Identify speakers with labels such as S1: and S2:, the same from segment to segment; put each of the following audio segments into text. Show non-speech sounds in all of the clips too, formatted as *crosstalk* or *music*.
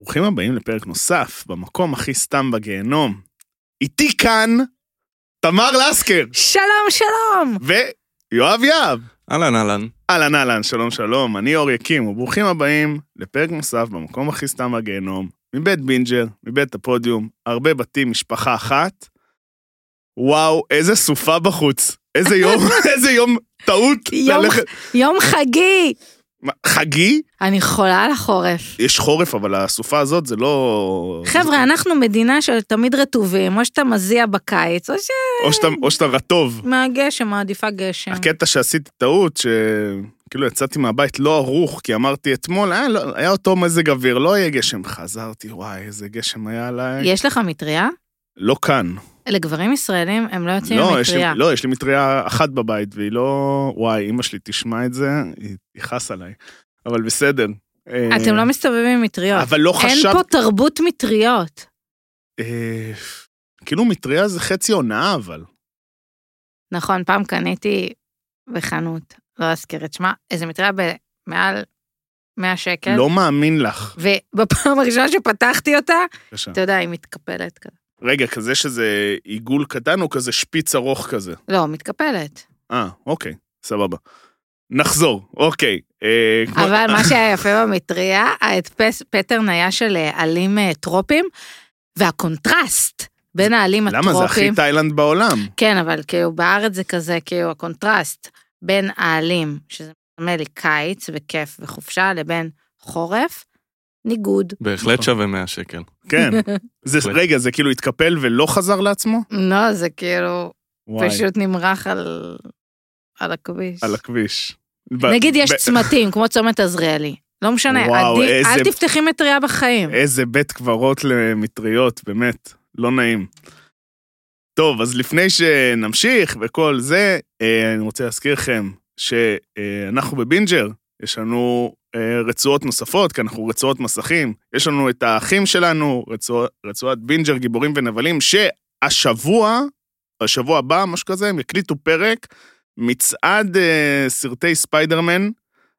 S1: ברוכים הבאים לפרק נוסף, במקום הכי סתם בגיהנום. איתי כאן, תמר לסקר
S2: שלום, שלום!
S1: ויואב יהב.
S3: אהלן אהלן.
S1: אהלן אהלן, שלום שלום, אני אור יקים, וברוכים הבאים לפרק נוסף במקום הכי סתם בגיהנום, מבית בינג'ר, מבית הפודיום, הרבה בתים, משפחה אחת. וואו, איזה סופה בחוץ. איזה
S2: *laughs*
S1: יום, איזה יום טעות.
S2: יום-
S1: ללכת-
S2: יום חגי!
S1: מה, חגי?
S2: אני חולה על החורף.
S1: יש חורף, אבל הסופה הזאת זה לא...
S2: חבר'ה, אנחנו מדינה של תמיד רטובים, או שאתה מזיע בקיץ, או
S1: או שאתה, או שאתה רטוב.
S2: שמהגשם מעדיפה גשם.
S1: הקטע שעשיתי טעות, שכאילו יצאתי מהבית לא ערוך, כי אמרתי אתמול, אה, לא, היה אותו מזג אוויר, לא יהיה גשם. חזרתי, וואי, איזה גשם היה עליי.
S2: יש לך מטריה?
S1: לא כאן.
S2: לגברים ישראלים הם לא יוצאים עם
S1: לא, יש לי,
S2: מטריה.
S1: לא, יש לי מטריה אחת בבית, והיא לא... וואי, אימא שלי תשמע את זה, היא תכעס עליי. אבל בסדר. אה,
S2: אתם לא מסתובבים עם מטריות.
S1: אבל לא
S2: אין
S1: חשבת...
S2: פה תרבות מטריות.
S1: אה, כאילו מטריה זה חצי הונאה, אבל.
S2: נכון, פעם קניתי בחנות, לא אזכיר את שמה, איזה מטריה במעל 100 שקל,
S1: לא מאמין לך.
S2: ובפעם הראשונה שפתחתי אותה,
S1: בבקשה.
S2: אתה יודע, היא מתקפלת כזה.
S1: רגע, כזה שזה עיגול קטן או כזה שפיץ ארוך כזה?
S2: לא, מתקפלת.
S1: אה, אוקיי, סבבה. נחזור, אוקיי. אה, כמו-
S2: אבל מה שהיה יפה במטריה, ההדפס פטרן היה של אה, עלים אה, טרופים, והקונטרסט בין העלים
S1: למה זה הכי
S2: הטרופים,
S1: תאילנד בעולם?
S2: כן, אבל כאילו בארץ זה כזה, כאילו הקונטרסט בין העלים, שזה מסמל לי קיץ וכיף וחופשה, לבין חורף, ניגוד.
S3: בהחלט
S1: נכון.
S3: שווה 100 שקל.
S2: *laughs*
S1: כן. זה, רגע, זה כאילו התקפל ולא חזר לעצמו?
S2: לא, זה כאילו
S1: וואי,
S2: פשוט נמרח על על הכביש.
S1: על הכביש. ב-
S2: נגיד יש
S1: ב-
S2: צמתים, כמו צומת עזריאלי. לא משנה,
S1: וואו,
S2: עדיף- אל
S1: איזה-
S2: תפתחי מטריה בחיים.
S1: איזה בית קברות למטריות, באמת, לא נעים. טוב, אז לפני שנמשיך וכל זה, אה, אני רוצה להזכיר לכם שאנחנו בבינג'ר, יש לנו אה, רצועות נוספות, כי אנחנו רצועות מסכים. יש לנו את האחים שלנו, רצוע, רצועת בינג'ר, גיבורים ונבלים, שהשבוע, השבוע הבא, משהו כזה, הם יקליטו פרק, מצעד אה, סרטי ספיידרמן.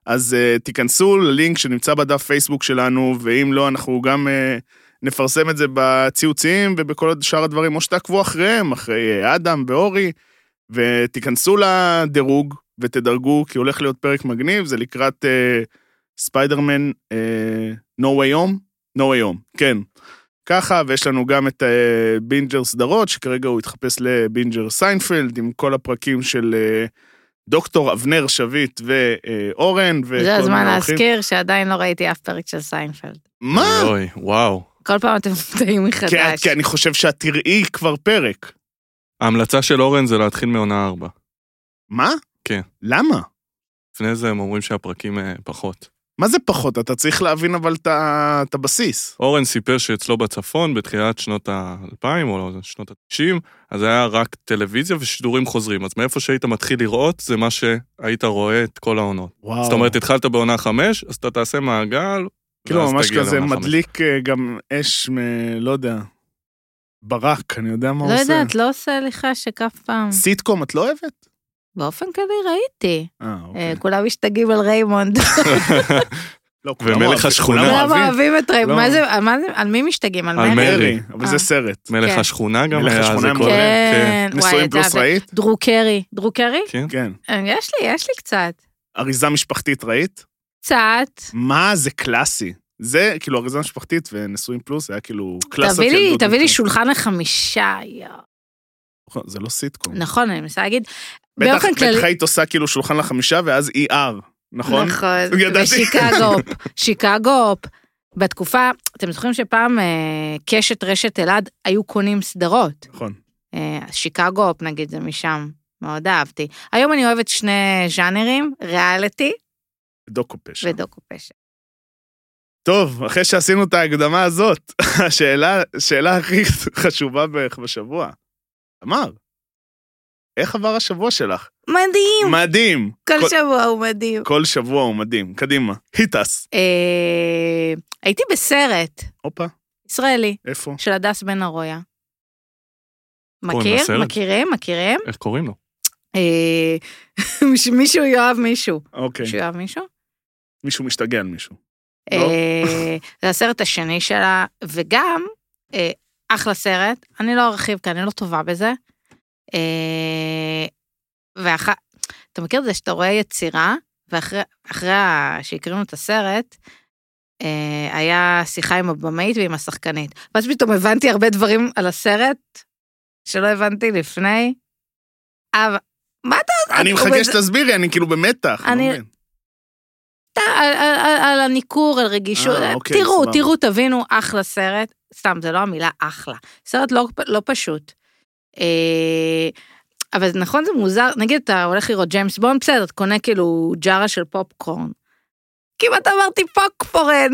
S1: אז uh, תיכנסו ללינק שנמצא בדף פייסבוק שלנו, ואם לא, אנחנו גם uh, נפרסם את זה בציוצים ובכל שאר הדברים, או שתעקבו אחריהם, אחרי אה, אדם ואורי, ותיכנסו לדירוג ותדרגו, כי הולך להיות פרק מגניב, זה לקראת uh, ספיידרמן uh, No way home, No way home, כן. ככה, ויש לנו גם את אה, בינג'ר סדרות, שכרגע הוא התחפש לבינג'ר סיינפלד, עם כל הפרקים של אה, דוקטור אבנר שביט אה, ואורן.
S2: זה הזמן להזכיר שעדיין לא ראיתי אף פרק של סיינפלד.
S1: מה?
S3: אוי, וואו.
S2: כל פעם אתם *laughs* מופתעים
S1: כי-
S2: מחדש.
S1: כי כן, אני חושב שאת תראי כבר פרק.
S3: ההמלצה של אורן זה להתחיל מעונה 4.
S1: מה?
S3: כן.
S1: למה?
S3: לפני זה הם אומרים שהפרקים אה, פחות.
S1: מה זה פחות? אתה צריך להבין אבל את ה- את הבסיס.
S3: אורן סיפר שאצלו בצפון, בתחילת שנות ה-2000 או לא, שנות ה-90, אז היה רק טלוויזיה ושידורים חוזרים. אז מאיפה שהיית מתחיל לראות, זה מה שהיית רואה את כל העונות.
S1: וואו.
S3: זאת אומרת, התחלת בעונה 5, אז אתה תעשה מעגל,
S1: כאילו
S3: ואז
S1: ממש
S3: תגיע
S1: כזה
S3: לעונה חמש.
S1: מדליק אה, גם אש מ... לא יודע. ברק, אני יודע מה הוא
S2: לא
S1: עושה.
S2: יודעת, לא עושה לי חשק אף פעם.
S1: סיטקום את לא אוהבת?
S2: באופן כללי ראיתי.
S1: אה,
S2: אה,
S1: אוקיי.
S2: כולם משתגעים על ריימונד.
S1: *laughs* לא, כולם
S3: ומלך
S1: אוהבים,
S3: השכונה.
S1: כולם
S2: כולם
S1: אוהבים.
S2: אוהבים את
S1: לא.
S2: ריימונד. מה זה, על מה זה- על מי משתגעים? על
S3: על
S2: מרי?
S3: מרי.
S1: מרי, אבל
S2: אה.
S1: זה סרט.
S3: מלך
S2: כן.
S3: השכונה גם
S1: מלך
S3: היה,
S1: השכונה
S3: זה
S1: הם
S3: כל...
S1: אוהבים.
S2: כן, וואי,
S1: נשואים
S2: אתה-
S1: פלוס ראית?
S2: דרו קרי. דרו קרי?
S3: כן.
S1: כן.
S2: אה, יש לי, יש לי קצת.
S1: אריזה משפחתית ראית?
S2: קצת.
S1: מה, זה קלאסי. זה כאילו אריזה משפחתית ונשואים פלוס, היה כאילו קלאסת
S2: תביא לי,
S1: ילדות.
S2: תביא לי שולחן לחמישה. יואו.
S1: זה לא סיטקום.
S2: נכון, אני מנסה להגיד.
S1: בטח-
S2: באופן כללי.
S1: בטח היית עושה כאילו שולחן לחמישה ואז ER, נכון?
S2: נכון.
S1: ידעתי.
S2: ושיקגופ, שיקגופ. בתקופה, אתם זוכרים שפעם אה, קשת רשת אלעד היו קונים סדרות.
S1: נכון.
S2: אה, שיקגופ נגיד זה משם, מאוד אהבתי. היום אני אוהבת שני ז'אנרים, ריאליטי
S1: דוקו פשע.
S2: ודוקו פשע.
S1: טוב, אחרי שעשינו את ההקדמה הזאת, *laughs* השאלה השאלה הכי חשובה בערך בשבוע. תמר, איך עבר השבוע שלך?
S2: מדהים,
S1: מדהים.
S2: כל שבוע הוא מדהים.
S1: כל שבוע הוא מדהים. קדימה, היטס.
S2: אה, הייתי בסרט
S1: הופה,
S2: ישראלי
S1: איפה?
S2: של הדס בן ארויה.
S3: קוראים
S2: מכיר?
S3: לסרט?
S2: מכירים? מכירים?
S3: איך קוראים לו?
S2: אה, *laughs* מישהו יאהב מישהו.
S1: אוקיי.
S2: מישהו יאהב מישהו?
S1: מישהו משתגע על מישהו.
S3: לא.
S2: אה, זה הסרט השני שלה, וגם, אה, אחלה סרט, אני לא ארחיב כי אני לא טובה בזה. אה, ואח... אתה מכיר את זה שאתה רואה יצירה, ואחרי אחרי ה- שהקרינו את הסרט, אה, היה שיחה עם הבמאית ועם השחקנית. ואז פתאום הבנתי הרבה דברים על הסרט שלא הבנתי לפני. אבל
S1: אני
S2: הוא
S1: מחכה
S2: בזה-
S1: שתסבירי, אני כאילו במתח. אני
S2: אני-
S1: לא מבין.
S2: על, על, על, על הניכור, על רגישות.
S1: אה,
S2: אה,
S1: אוקיי,
S2: תראו,
S1: סבבה.
S2: תראו, תבינו, אחלה סרט. סתם, זה לא המילה אחלה. סרט לא, לא פשוט. אה, אבל זה נכון, זה מוזר, נגיד אתה הולך לראות ג'יימס בונד, בסדר, אתה קונה כאילו ג'ארה של פופקורן. כמעט אמרתי פוקפורן.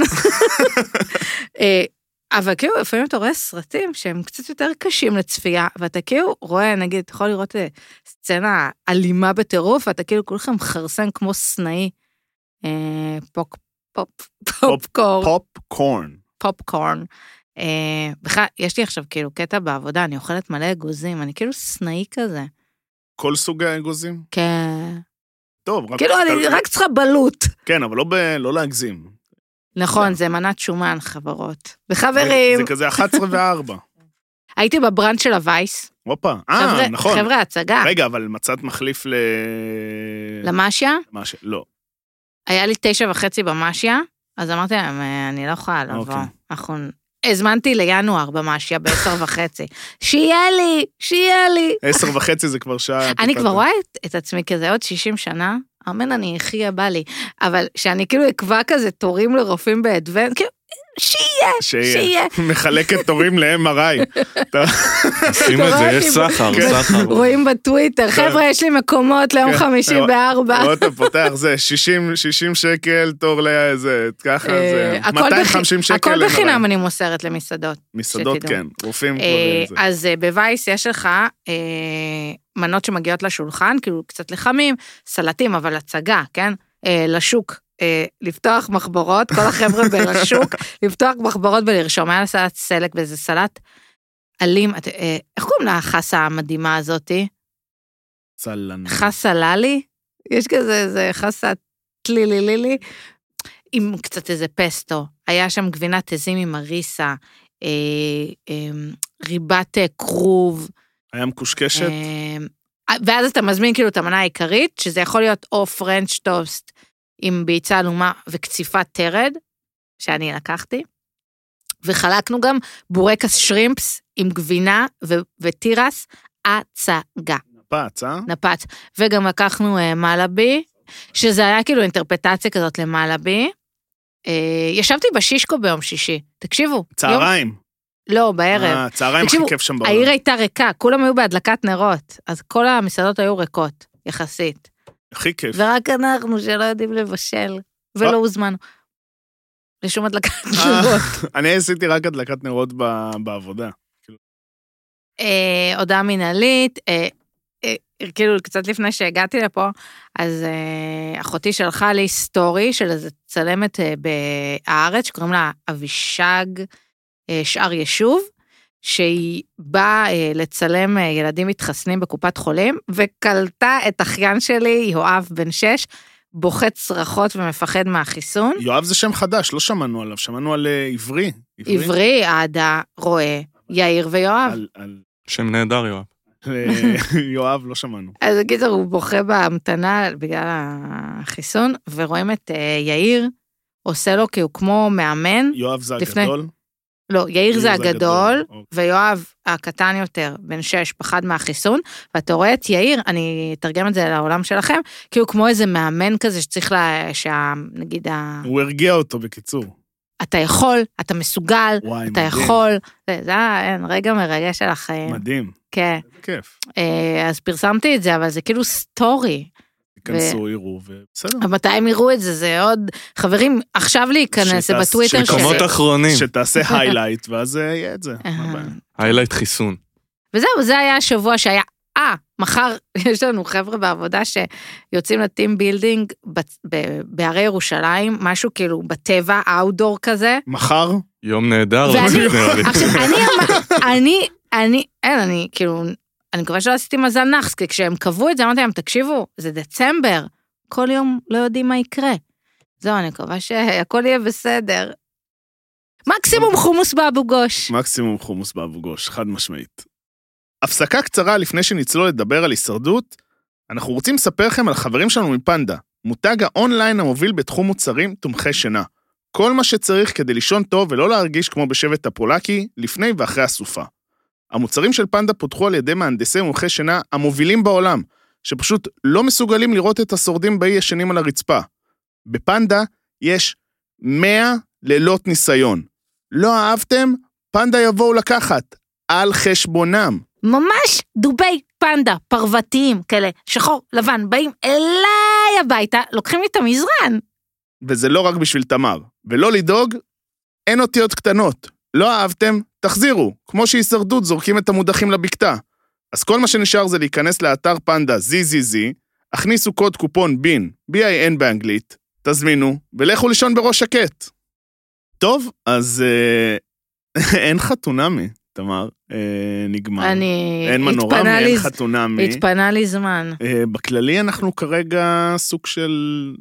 S2: אה, אבל כאילו, לפעמים אתה רואה סרטים שהם קצת יותר קשים לצפייה, ואתה כאילו רואה, נגיד, אתה יכול לראות אה, סצנה אלימה בטירוף, ואתה כאילו כולך מכרסם כמו סנאי. אה, פוק, פופ, פופקורן.
S1: פופקורן.
S2: פופקורן. אה, בכלל, יש לי עכשיו כאילו קטע בעבודה, אני אוכלת מלא אגוזים, אני כאילו סנאי כזה.
S1: כל סוגי האגוזים?
S2: כן.
S1: טוב, רק...
S2: כאילו, אני
S1: אתה-
S2: רק צריכה בלוט.
S1: כן, אבל לא ב- לא להגזים.
S2: נכון, זה מנת שומן, חברות.
S1: כן. זה-
S2: וחברים,
S1: זה כזה 11
S2: *laughs*
S1: ו-4.
S2: הייתי בברנץ' של הווייס.
S1: הופה.
S2: חבר'ה-
S1: אה, נכון.
S2: חבר'ה, הצגה.
S1: רגע, אבל מצאת מחליף ל...
S2: למאשיה,
S1: מה ש... לא.
S2: היה לי תשע וחצי במאשיה, אז אמרתי להם, "אה, אני לא יכולה לבוא.
S1: אוקיי.
S2: אנחנו... הזמנתי לינואר במאשיה בעשר וחצי. שיהיה לי, שיהיה לי.
S1: עשר וחצי זה כבר שעה...
S2: אני
S1: טיפה
S2: כבר
S1: יותר.
S2: רואה את, את עצמי כזה עוד 60 שנה, אמן אני אחיה, בא לי. אבל שאני כאילו אקבע כזה תורים לרופאים באדוונט, כאילו, שיהיה,
S1: שיהיה.
S2: שיהיה.
S1: *laughs* מחלקת תורים ל-MRI.
S2: *laughs*
S3: עושים את זה, יש סחר,
S1: כן.
S3: סחר.
S2: רואים בטוויטר, חבר'ה, יש לי מקומות ליום
S1: כן,
S2: 54.
S1: רואה אתה פותח זה, 60 60 שקל תור לאיזה, ככה זה.
S2: אה, הכל בחי-
S1: 250 שקל.
S2: הכל
S1: ל-
S2: בחינם אני מוסרת למסעדות.
S1: מסעדות,
S2: שתדעו.
S1: כן. רופאים כבר...
S2: אה,
S1: זה.
S2: אז אה, בווייס יש לך אה, מנות שמגיעות לשולחן, כאילו קצת לחמים, סלטים, אבל הצגה, כן? אה, לשוק. אה, לפתוח מחברות, כל החבר'ה בלשוק, לפתוח מחברות ולרשום, היה סלט סלק באיזה סלט אלים, את- אה, איך קוראים לחסה המדהימה הזאתי?
S1: סלנה.
S2: חסה ללי? יש כזה איזה חסה טלילילילי, עם קצת איזה פסטו. היה שם גבינת עזים עם אריסה, אה, אה, ריבת אה, כרוב.
S1: היה מקושקשת?
S2: אה, ואז אתה מזמין כאילו את המנה העיקרית, שזה יכול להיות או פרנץ' טוסט עם ביצה עלומה וקציפת טרד, שאני לקחתי, וחלקנו גם בורקס שרימפס עם גבינה ו- ותירס, הצגה.
S1: נפץ, אה?
S2: נפץ. וגם לקחנו אה, מלאבי, שזה היה כאילו אינטרפטציה כזאת למלאבי. אה, ישבתי בשישקו ביום שישי, תקשיבו. יום,
S1: צהריים.
S2: לא, בערב.
S1: אה, צהריים הכי
S2: תקשיבו,
S1: כיף שם בעולם.
S2: העיר הייתה ריקה, כולם היו בהדלקת נרות, אז כל המסעדות היו ריקות, יחסית.
S1: הכי כיף.
S2: ורק אנחנו שלא יודעים לבשל,
S1: אה.
S2: ולא הוזמנו. לשום הדלקת
S1: אה, *laughs*
S2: נרות.
S1: אני עשיתי רק הדלקת נרות ב- בעבודה.
S2: אה, הודעה מינהלית, אה, אה, כאילו קצת לפני שהגעתי לפה, אז אה, אחותי שלחה לי סטורי של איזה צלמת אה, בהארץ, שקוראים לה אבישג אה, שאר ישוב, שהיא באה אה, לצלם אה, ילדים מתחסנים בקופת חולים, וקלטה את אחיין שלי, יואב בן שש, בוכה צרחות ומפחד מהחיסון.
S1: יואב זה שם חדש, לא שמענו עליו, שמענו על אה, עברי.
S2: עברי, עדה, רועה, יאיר ויואב.
S1: על- על-
S3: שם נהדר, יואב.
S1: אה, *laughs* יואב, לא שמענו.
S2: אז בקיצור, הוא בוכה בהמתנה בגלל החיסון, ורואים את אה, יאיר עושה לו כי הוא כמו מאמן.
S1: יואב זה
S2: לפני-
S1: הגדול.
S2: לא, יאיר זה הגדול,
S1: אוקיי.
S2: ויואב הקטן יותר, בן שש, פחד מהחיסון, ואתה רואה את יאיר, אני אתרגם את זה לעולם שלכם, כאילו כמו איזה מאמן כזה שצריך לה... שה... נגיד, ה...
S1: הוא הרגיע אותו בקיצור.
S2: אתה יכול, אתה מסוגל,
S1: וואי,
S2: אתה
S1: מדהים.
S2: יכול. זה, זה היה אין, רגע מרגש של החיים.
S1: מדהים,
S2: כן.
S1: איזה כיף.
S2: אה, אז פרסמתי את זה, אבל זה כאילו סטורי.
S1: תיכנסו, יראו, ובסדר.
S2: אבל מתי הם יראו את זה? זה עוד... חברים, עכשיו להיכנס, זה
S1: שתעש-
S2: בטוויטר
S1: שתעשה-
S3: מקומות
S1: שזה-
S3: אחרונים.
S2: *laughs*
S1: שתעשה היילייט, ואז אה, יהיה את זה.
S2: אה.
S1: מה הבעיה?
S3: היילייט חיסון.
S2: וזהו, זה היה השבוע שהיה... אה, מחר *laughs* יש לנו חבר'ה בעבודה שיוצאים לטים בילדינג בצ- ב- בהרי ירושלים, משהו כאילו בטבע, אאוטדור כזה.
S1: מחר?
S3: יום נהדר, לא
S2: ואני-
S3: לצאת, נראה לי.
S2: עכשיו, אני אמר- אני, אני, אין, אני כאילו, אני מקווה שלא עשיתי מזל נאחס, כי כשהם קבעו את זה, אמרתי להם, תקשיבו, זה דצמבר, כל יום לא יודעים מה יקרה. זהו, אני מקווה שהכל יהיה בסדר. מקסימום חומוס באבו גוש.
S1: מקסימום חומוס באבו גוש, חד משמעית. הפסקה קצרה לפני שנצלול לדבר על הישרדות, אנחנו רוצים לספר לכם על החברים שלנו מפנדה, מותג האונליין המוביל בתחום מוצרים תומכי שינה. כל מה שצריך כדי לישון טוב ולא להרגיש כמו בשבט הפולקי, לפני ואחרי הסופה. המוצרים של פנדה פותחו על ידי מהנדסי מומחי שינה המובילים בעולם, שפשוט לא מסוגלים לראות את השורדים באי ישנים על הרצפה. בפנדה יש 100 לילות ניסיון. לא אהבתם? פנדה יבואו לקחת, על חשבונם.
S2: ממש דובי פנדה, פרוותיים כאלה, שחור, לבן, באים אליי הביתה, לוקחים לי את המזרן.
S1: וזה לא רק בשביל תמר. ולא לדאוג, אין אותיות קטנות. לא אהבתם? תחזירו. כמו שהישרדות זורקים את המודחים לבקתה. אז כל מה שנשאר זה להיכנס לאתר פנדה ZZZ, הכניסו קוד קופון בין, BIN באנגלית, תזמינו, ולכו לישון בראש שקט. טוב, אז אה, *laughs* אין חתונמי, תמר. אה, נגמר.
S2: אני...
S1: אין מנורה,
S2: התפנה
S1: אין
S2: לי-
S1: חתונמי.
S2: התפנה לי זמן.
S1: אה, בכללי אנחנו כרגע סוג של...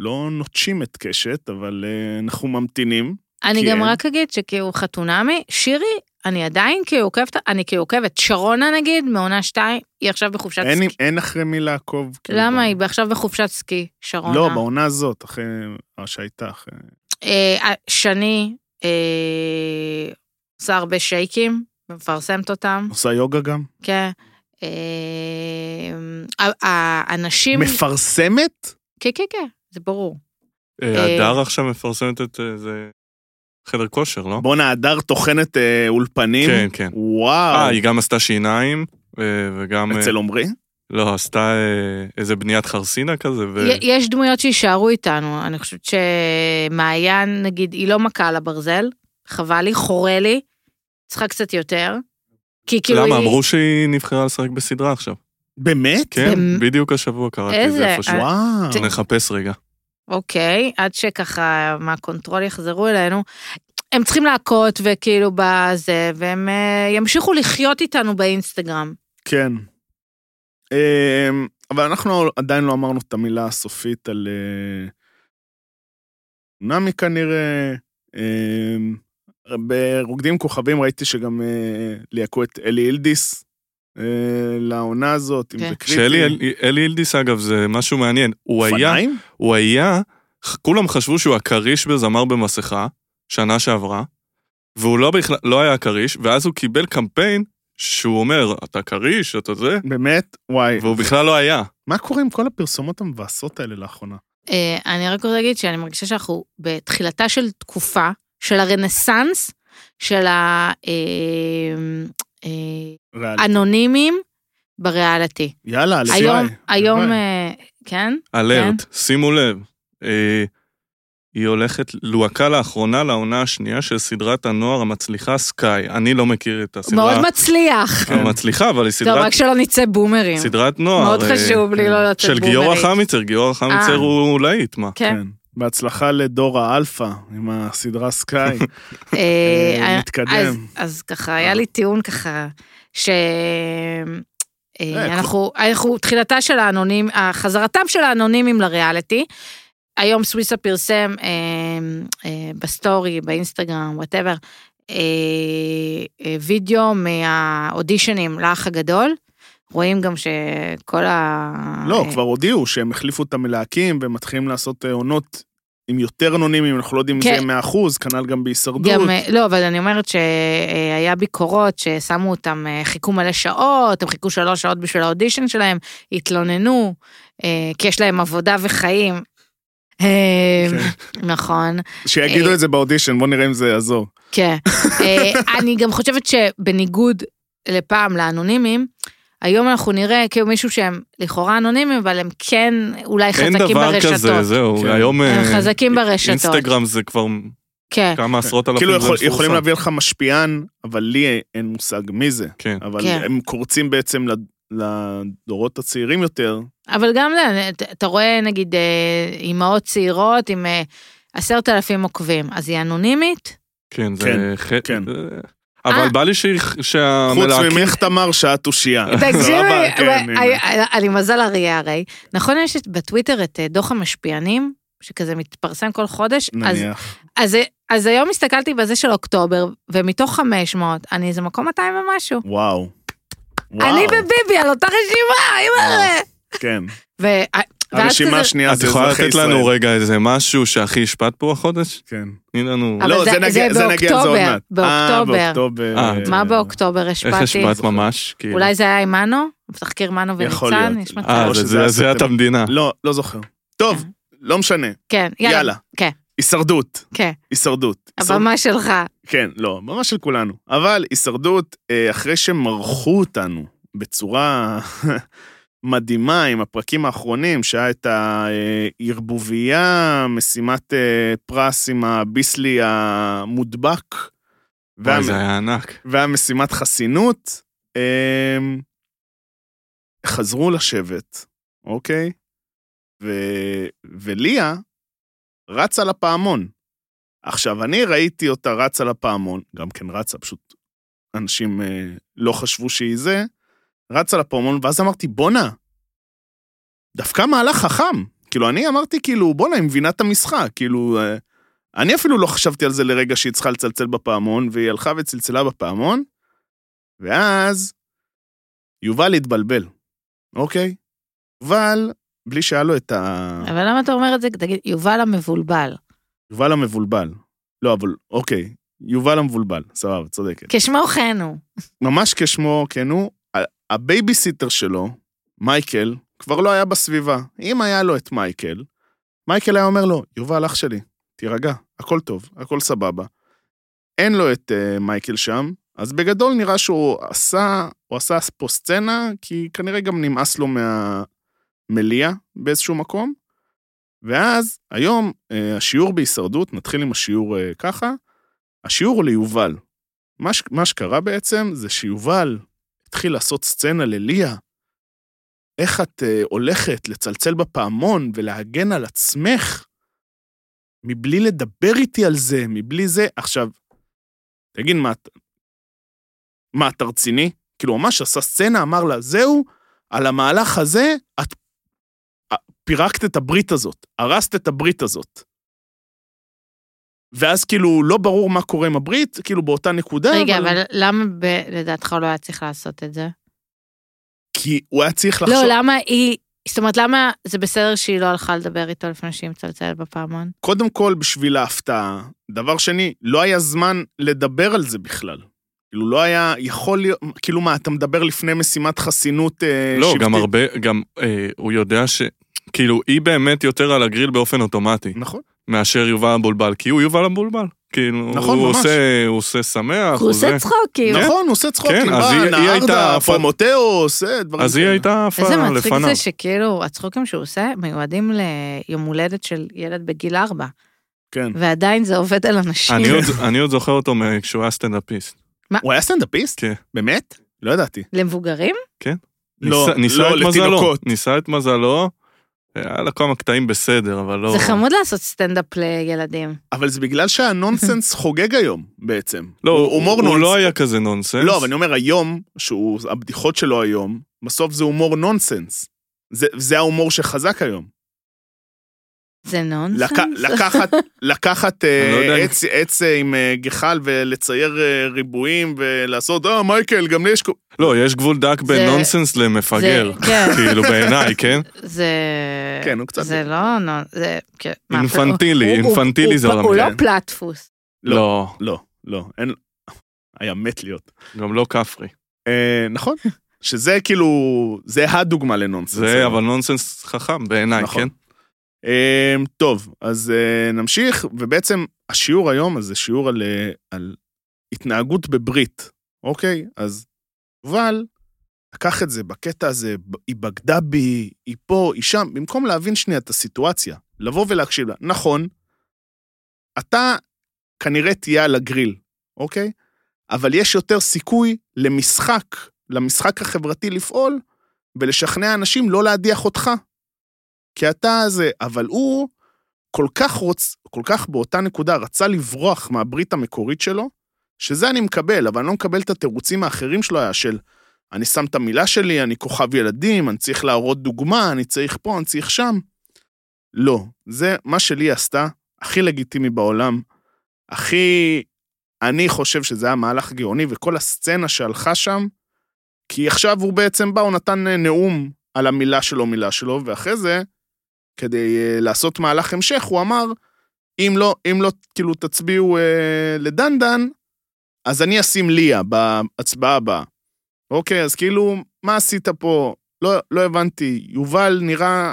S1: לא נוטשים את קשת, אבל אה, אנחנו ממתינים.
S2: אני
S1: כי
S2: גם
S1: אין.
S2: רק אגיד שכאילו חתונמי, שירי, אני עדיין כאילו עוקבת, אני כאילו עוקבת. שרונה נגיד, מעונה 2, היא עכשיו בחופשת
S1: אין,
S2: סקי.
S1: אין אחרי מי לעקוב. כאילו,
S2: למה
S1: ב-
S2: היא עכשיו בחופשת סקי, שרונה?
S1: לא, בעונה הזאת, אחרי מה שהייתה. אחרי...
S2: אה, שני אה, עושה הרבה שייקים, מפרסמת אותם,
S1: עושה יוגה גם?
S2: כן. אה, ה- האנשים...
S1: מפרסמת?
S2: כן, כן, כן, זה ברור.
S3: אה,
S2: אה,
S3: הדר עכשיו מפרסמת את אה, זה חדר כושר, לא?
S1: בואנה, הדר טוחנת אה, אולפנים?
S3: כן, כן. אה,
S1: וואו.
S3: היא גם עשתה שיניים, אה, וגם... אה,
S1: אצל עומרי?
S3: לא, עשתה אה, איזה בניית חרסינה כזה, ו...
S2: י- יש דמויות שיישארו איתנו, אני חושבת שמעיין, נגיד, היא לא מכה על הברזל, חבל לי, חורה לי, צריכה קצת יותר. כי כאילו
S3: למה?
S2: היא...
S3: אמרו שהיא נבחרה לשחק בסדרה עכשיו.
S1: באמת?
S3: כן,
S2: במ-
S3: בדיוק השבוע קראתי את
S2: איזה? אה,
S3: זה איפשהו.
S1: וואו.
S3: אה,
S2: זה-
S3: נחפש רגע.
S2: אוקיי, עד שככה מהקונטרול יחזרו אלינו. הם צריכים להכות וכאילו בזה, והם אה, ימשיכו לחיות איתנו באינסטגרם.
S1: כן. אמ, אבל אנחנו עדיין לא אמרנו את המילה הסופית על אה, נמי כנראה. אמ, ברוקדים עם כוכבים ראיתי שגם אה, ליהקו את אלי אילדיס אה, לעונה הזאת, אם
S2: כן.
S1: זה קריטי.
S3: שאלי אל- אלי אילדיס, אגב, זה משהו מעניין. הוא היה,
S1: אופניים?
S3: הוא היה, ח- כולם חשבו שהוא הכריש בזמר במסכה, שנה שעברה, והוא לא בכלל, לא היה הכריש, ואז הוא קיבל קמפיין שהוא אומר, אתה כריש, אתה זה,
S1: באמת? וואי.
S3: והוא בכלל לא היה.
S1: מה קורה עם כל הפרסומות המבאסות האלה לאחרונה?
S2: אה, אני רק רוצה להגיד שאני מרגישה שאנחנו בתחילתה של תקופה, של הרנסאנס, של ה... אה, אה,
S1: ריאלי.
S2: אנונימיים בריאליטי.
S1: יאללה, הלוואי.
S2: היום, היום,
S1: הלוואי.
S2: אה, כן?
S3: אלרט, שימו לב, אה, היא הולכת, לוהקה לאחרונה לעונה השנייה של סדרת הנוער המצליחה סקאי. אני לא מכיר את
S2: מאוד
S3: הסדרה
S2: מצליח.
S3: המצליחה, אבל היא
S2: טוב,
S3: סדרת,
S2: רק שלא נצא בומרים.
S3: סדרת נוער.
S2: מאוד
S3: אה,
S2: חשוב לי
S1: כן.
S2: לא לצאת
S3: של
S2: בומרית.
S3: גיורא חמיצר, גיורא חמיצר
S2: אה.
S3: הוא להיט, מה?
S2: כן.
S1: כן. בהצלחה לדור האלפא עם הסדרה סקאי.
S2: אה,
S1: אה,
S2: אה,
S1: מתקדם.
S2: אז- אז ככה, היה לי טיעון ככה, ש... אה,
S1: אה,
S2: אנחנו, אנחנו, תחילתה של האנונים, אה, חזרתם של האנונימים לריאליטי. היום סוויסה פרסם אה, אה, בסטורי, באינסטגרם, וואטאבר, אה, אה, וידאו מהאודישנים לאח הגדול. רואים גם שכל ה...
S1: לא,
S2: אה,
S1: כבר הודיעו שהם החליפו את המלהקים והם מתחילים לעשות אה, עונות עם יותר אנונימיים, אנחנו לא יודעים אם זה
S2: כן.
S1: יהיה 100 אחוז, כנ"ל גם בהישרדות.
S2: גם, אה, לא, אבל אני אומרת שהיה ביקורות ששמו אותם, אה, חיכו מלא שעות, הם חיכו שלוש שעות בשביל האודישן שלהם, התלוננו, אה, כי יש להם עבודה וחיים. אה,
S3: כן.
S2: נכון,
S1: שיגידו
S2: אה,
S1: את זה באודישן, בוא נראה אם זה יעזור.
S2: כן. אה, אני גם חושבת שבניגוד לפעם לאנונימים, היום אנחנו נראה כאילו מישהו שהם לכאורה אנונימיים, אבל הם כן אולי
S3: אין
S2: חזקים
S3: דבר כזה,
S2: ברשתות.
S3: זהו,
S1: כן.
S3: היום...
S2: הם
S3: אה,
S2: חזקים ברשתות.
S3: אינסטגרם זה כבר
S2: כן.
S3: כמה עשרות אלפים.
S1: כאילו
S3: זה
S1: יכול-
S3: מפורסם.
S1: יכולים להביא לך משפיען, אבל לי אין מושג מי זה.
S3: כן.
S1: אבל
S2: כן.
S1: הם קורצים בעצם לד- לדורות הצעירים יותר.
S2: אבל גם זה, ת- אתה רואה נגיד אה, אימהות צעירות עם אה, עשרת אלפים עוקבים, אז היא אנונימית?
S1: *laughs* כן,
S3: כן, זה... ח-
S1: כן.
S3: זה-
S2: אה.
S3: אבל בא לי שהיא-
S1: חוץ
S3: שהמלהקים...
S1: ממך, תמר, שאת אושייה. סבבה,
S2: *laughs* תקשיבי,
S1: לא
S2: אה,
S1: כן, הנה.
S2: אני- אני מזל אריה הרי. נכון יש את- בטוויטר את אה, דוח אה, המשפיענים? שכזה מתפרסם כל חודש, אה, אז,
S1: נניח.
S2: אז, אז היום הסתכלתי בזה של אוקטובר, ומתוך 500, אני איזה מקום 200 ומשהו.
S1: וואו. וואו.
S2: אני וביבי על אותה רשימה, אימא'לה.
S1: כן.
S2: ו- אה, ואז
S1: הרשימה
S2: כזה-
S1: השנייה
S3: את
S1: זה
S3: יכולה
S1: אזרחי
S3: לתת
S1: ישראל.
S3: לנו רגע איזה משהו שהכי השפעת פה החודש?
S1: כן.
S3: תני לנו...
S2: אבל
S1: לא,
S2: זה-
S1: זה נגיע
S2: זה
S1: זה נגיע לזה עוד
S2: באוקטובר,
S1: מעט. אה,
S2: באוקטובר.
S1: באוקטובר.
S3: אה,
S2: מה באוקטובר השפעתי?
S3: איך השפעת ממש? כאילו?
S2: אולי זה היה עם מנו? תחקיר מנו
S1: יכול
S2: וניצן?
S1: להיות.
S2: יש
S3: אה,
S2: מצב.
S1: או
S3: זה-
S1: שזה
S3: זה- זה היה את
S1: עשיתם.
S3: המדינה.
S1: לא, לא זוכר. טוב, לא משנה.
S2: כן,
S1: יאללה.
S2: יאללה. כן,
S1: הישרדות.
S2: כן.
S1: הישרדות. הישרדות.
S2: הבמה שלך.
S1: כן, לא, הבמה של כולנו. אבל הישרדות, אה, אחרי שמרחו אותנו בצורה *laughs* מדהימה עם הפרקים האחרונים, שהיה את הערבוביה, משימת אה, פרס עם הביסלי המודבק,
S3: וואי,
S1: והמ-
S3: זה היה ענק.
S1: והמשימת חסינות, אמ, חזרו לשבת, אוקיי? ו... וליה רצה לפעמון. עכשיו, אני ראיתי אותה רצה לפעמון, גם כן רצה, פשוט אנשים אה, לא חשבו שהיא זה, רצה לפעמון, ואז אמרתי, בואנה, דווקא מהלך חכם. כאילו, אני אמרתי, כאילו, בואנה, היא מבינה את המשחק, כאילו... אה, אני אפילו לא חשבתי על זה לרגע שהיא צריכה לצלצל בפעמון, והיא הלכה וצלצלה בפעמון, ואז יובל התבלבל, אוקיי? יובל, בלי שהיה לו את ה...
S2: אבל למה אתה אומר את זה? תגיד, יובל המבולבל.
S1: יובל המבולבל. לא, אבל אוקיי, יובל המבולבל, סבבה, צודקת.
S2: כשמו כן הוא.
S1: ממש כשמו כן הוא, ה- הבייביסיטר שלו, מייקל, כבר לא היה בסביבה. אם היה לו את מייקל, מייקל היה אומר לו, יובל אח שלי, תירגע, הכל טוב, הכל סבבה. אין לו את uh, מייקל שם, אז בגדול נראה שהוא עשה, הוא עשה פה סצנה, כי כנראה גם נמאס לו מהמליאה באיזשהו מקום. ואז היום אה, השיעור בהישרדות, נתחיל עם השיעור אה, ככה, השיעור הוא ליובל. מה, ש, מה שקרה בעצם זה שיובל התחיל לעשות סצנה לליה, איך את אה, הולכת לצלצל בפעמון ולהגן על עצמך, מבלי לדבר איתי על זה, מבלי זה. עכשיו, תגיד, מה, את- מה, אתה רציני? כאילו, הוא ממש עשה סצנה, אמר לה, זהו, על המהלך הזה, את אה, פירקת את הברית הזאת, הרסת את הברית הזאת. ואז כאילו לא ברור מה קורה עם הברית, כאילו באותה נקודה.
S2: רגע, אבל למה ב- לדעתך הוא לא היה צריך לעשות את זה?
S1: כי הוא היה צריך לחשוב...
S2: לא, למה היא... זאת אומרת, למה זה בסדר שהיא לא הלכה לדבר איתו לפני שהיא מצלצלת בפעמון?
S1: קודם כל, בשביל ההפתעה. דבר שני, לא היה זמן לדבר על זה בכלל. כאילו, לא היה יכול להיות... כאילו, מה, אתה מדבר לפני משימת חסינות אה,
S3: לא,
S1: שבטית?
S3: גם הרבה, גם אה, הוא יודע ש... כאילו, היא באמת יותר על הגריל באופן אוטומטי,
S1: נכון.
S3: מאשר יובל המבולבל, כי הוא יובל המבולבל. כאילו,
S1: נכון,
S3: הוא
S1: ממש.
S3: עושה, הוא עושה שמח,
S2: הוא
S3: הוא
S2: עושה
S3: זה.
S2: צחוקים.
S1: נכון, הוא עושה צחוקים.
S3: כן, אז
S1: בא,
S3: היא- היא
S1: נהרדה,
S3: הייתה-
S1: פרומוטאוס, אה, דברים
S3: אז היא
S1: כאלה.
S3: הייתה עפה
S2: איזה
S3: כן, לפניו.
S2: מצחיק זה שכאילו, הצחוקים שהוא עושה מיועדים ליום הולדת של ילד בגיל ארבע,
S1: כן.
S2: ועדיין זה עובד על אנשים.
S3: אני עוד- אני עוד זוכר אותו מ- כשהוא היה סטנדאפיסט.
S1: הוא היה סטנדאפיסט?
S3: כן.
S1: באמת? לא ידעתי.
S2: למבוגרים?
S1: לא,
S3: ניסה- ניסה
S1: לא,
S3: את מזלו,
S1: לתינוקות.
S3: ניסה את מזלו, היה לה כמה קטעים בסדר, אבל לא...
S2: זה חמוד לעשות סטנדאפ לילדים.
S1: אבל זה בגלל
S3: *laughs*
S1: שהנונסנס חוגג היום, בעצם.
S3: לא,
S1: הוא הומור
S3: הוא
S1: נונסנס.
S3: לא היה כזה נונסנס.
S1: לא, אבל אני אומר, היום, שהוא, הבדיחות שלו היום, בסוף זה הומור נונסנס. זה, זה ההומור שחזק היום.
S2: זה נונסנס?
S1: לק-
S2: *laughs*
S1: לקחת, לקחת אה,
S3: אני לא יודע אם-
S1: עץ, עץ אה, עם אה, גחל ולצייר אה, ריבועים ולעשות, אה, מייקל, גם לי יש... קו-"
S3: לא, יש גבול דק בין
S2: זה-
S3: נונסנס למפגר.
S2: זה- כן.
S3: *laughs* כאילו בעיניי, כן?
S2: זה...
S1: כן, הוא קצת...
S2: אה, זה לא נונ... זה... כן, *laughs* מה,
S3: אינפנטילי,
S2: הוא- הוא-
S3: אינפנטילי
S2: הוא-
S3: זה
S2: הוא לא
S3: המילה.
S2: פלטפוס.
S3: לא,
S1: לא, לא, אין... היה מת להיות.
S3: גם לא כפרי.
S1: אה,
S2: *laughs*
S1: נכון. שזה כאילו, זה הדוגמה לנונסנס.
S3: זה אבל נונסנס חכם בעיניי,
S1: נכון.
S3: כן?
S1: אמ, טוב, אז אה, נמשיך, ובעצם השיעור היום אז זה שיעור על, אה, על התנהגות בברית, אוקיי? אז יובל לקח את זה בקטע הזה, ב- היא בגדה בי, היא פה, היא שם, במקום להבין שנייה את הסיטואציה, לבוא ולהקשיב לה. נכון, אתה כנראה תהיה על הגריל, אוקיי? אבל יש יותר סיכוי למשחק, למשחק החברתי לפעול, ולשכנע אנשים לא להדיח אותך. כי אתה זה, אבל הוא כל כך רוצ... כל כך באותה נקודה רצה לברוח מהברית המקורית שלו, שזה אני מקבל, אבל אני לא מקבל את התירוצים האחרים שלו, היה של אני שם את המילה שלי, אני כוכב ילדים, אני צריך להראות דוגמה, אני צריך פה, אני צריך שם. לא. זה מה שלי עשתה, הכי לגיטימי בעולם, הכי... אני חושב שזה היה מהלך גאוני, וכל הסצנה שהלכה שם, כי עכשיו הוא בעצם בא, הוא נתן אה, נאום על המילה שלו, מילה שלו, ואחרי זה, כדי אה, לעשות מהלך המשך, הוא אמר, אם לא, אם לא, כאילו, תצביעו אה, לדנדן, אז אני אשים ליה בהצבעה הבאה. אוקיי, אז כאילו, מה עשית פה? לא, לא הבנתי. יובל נראה...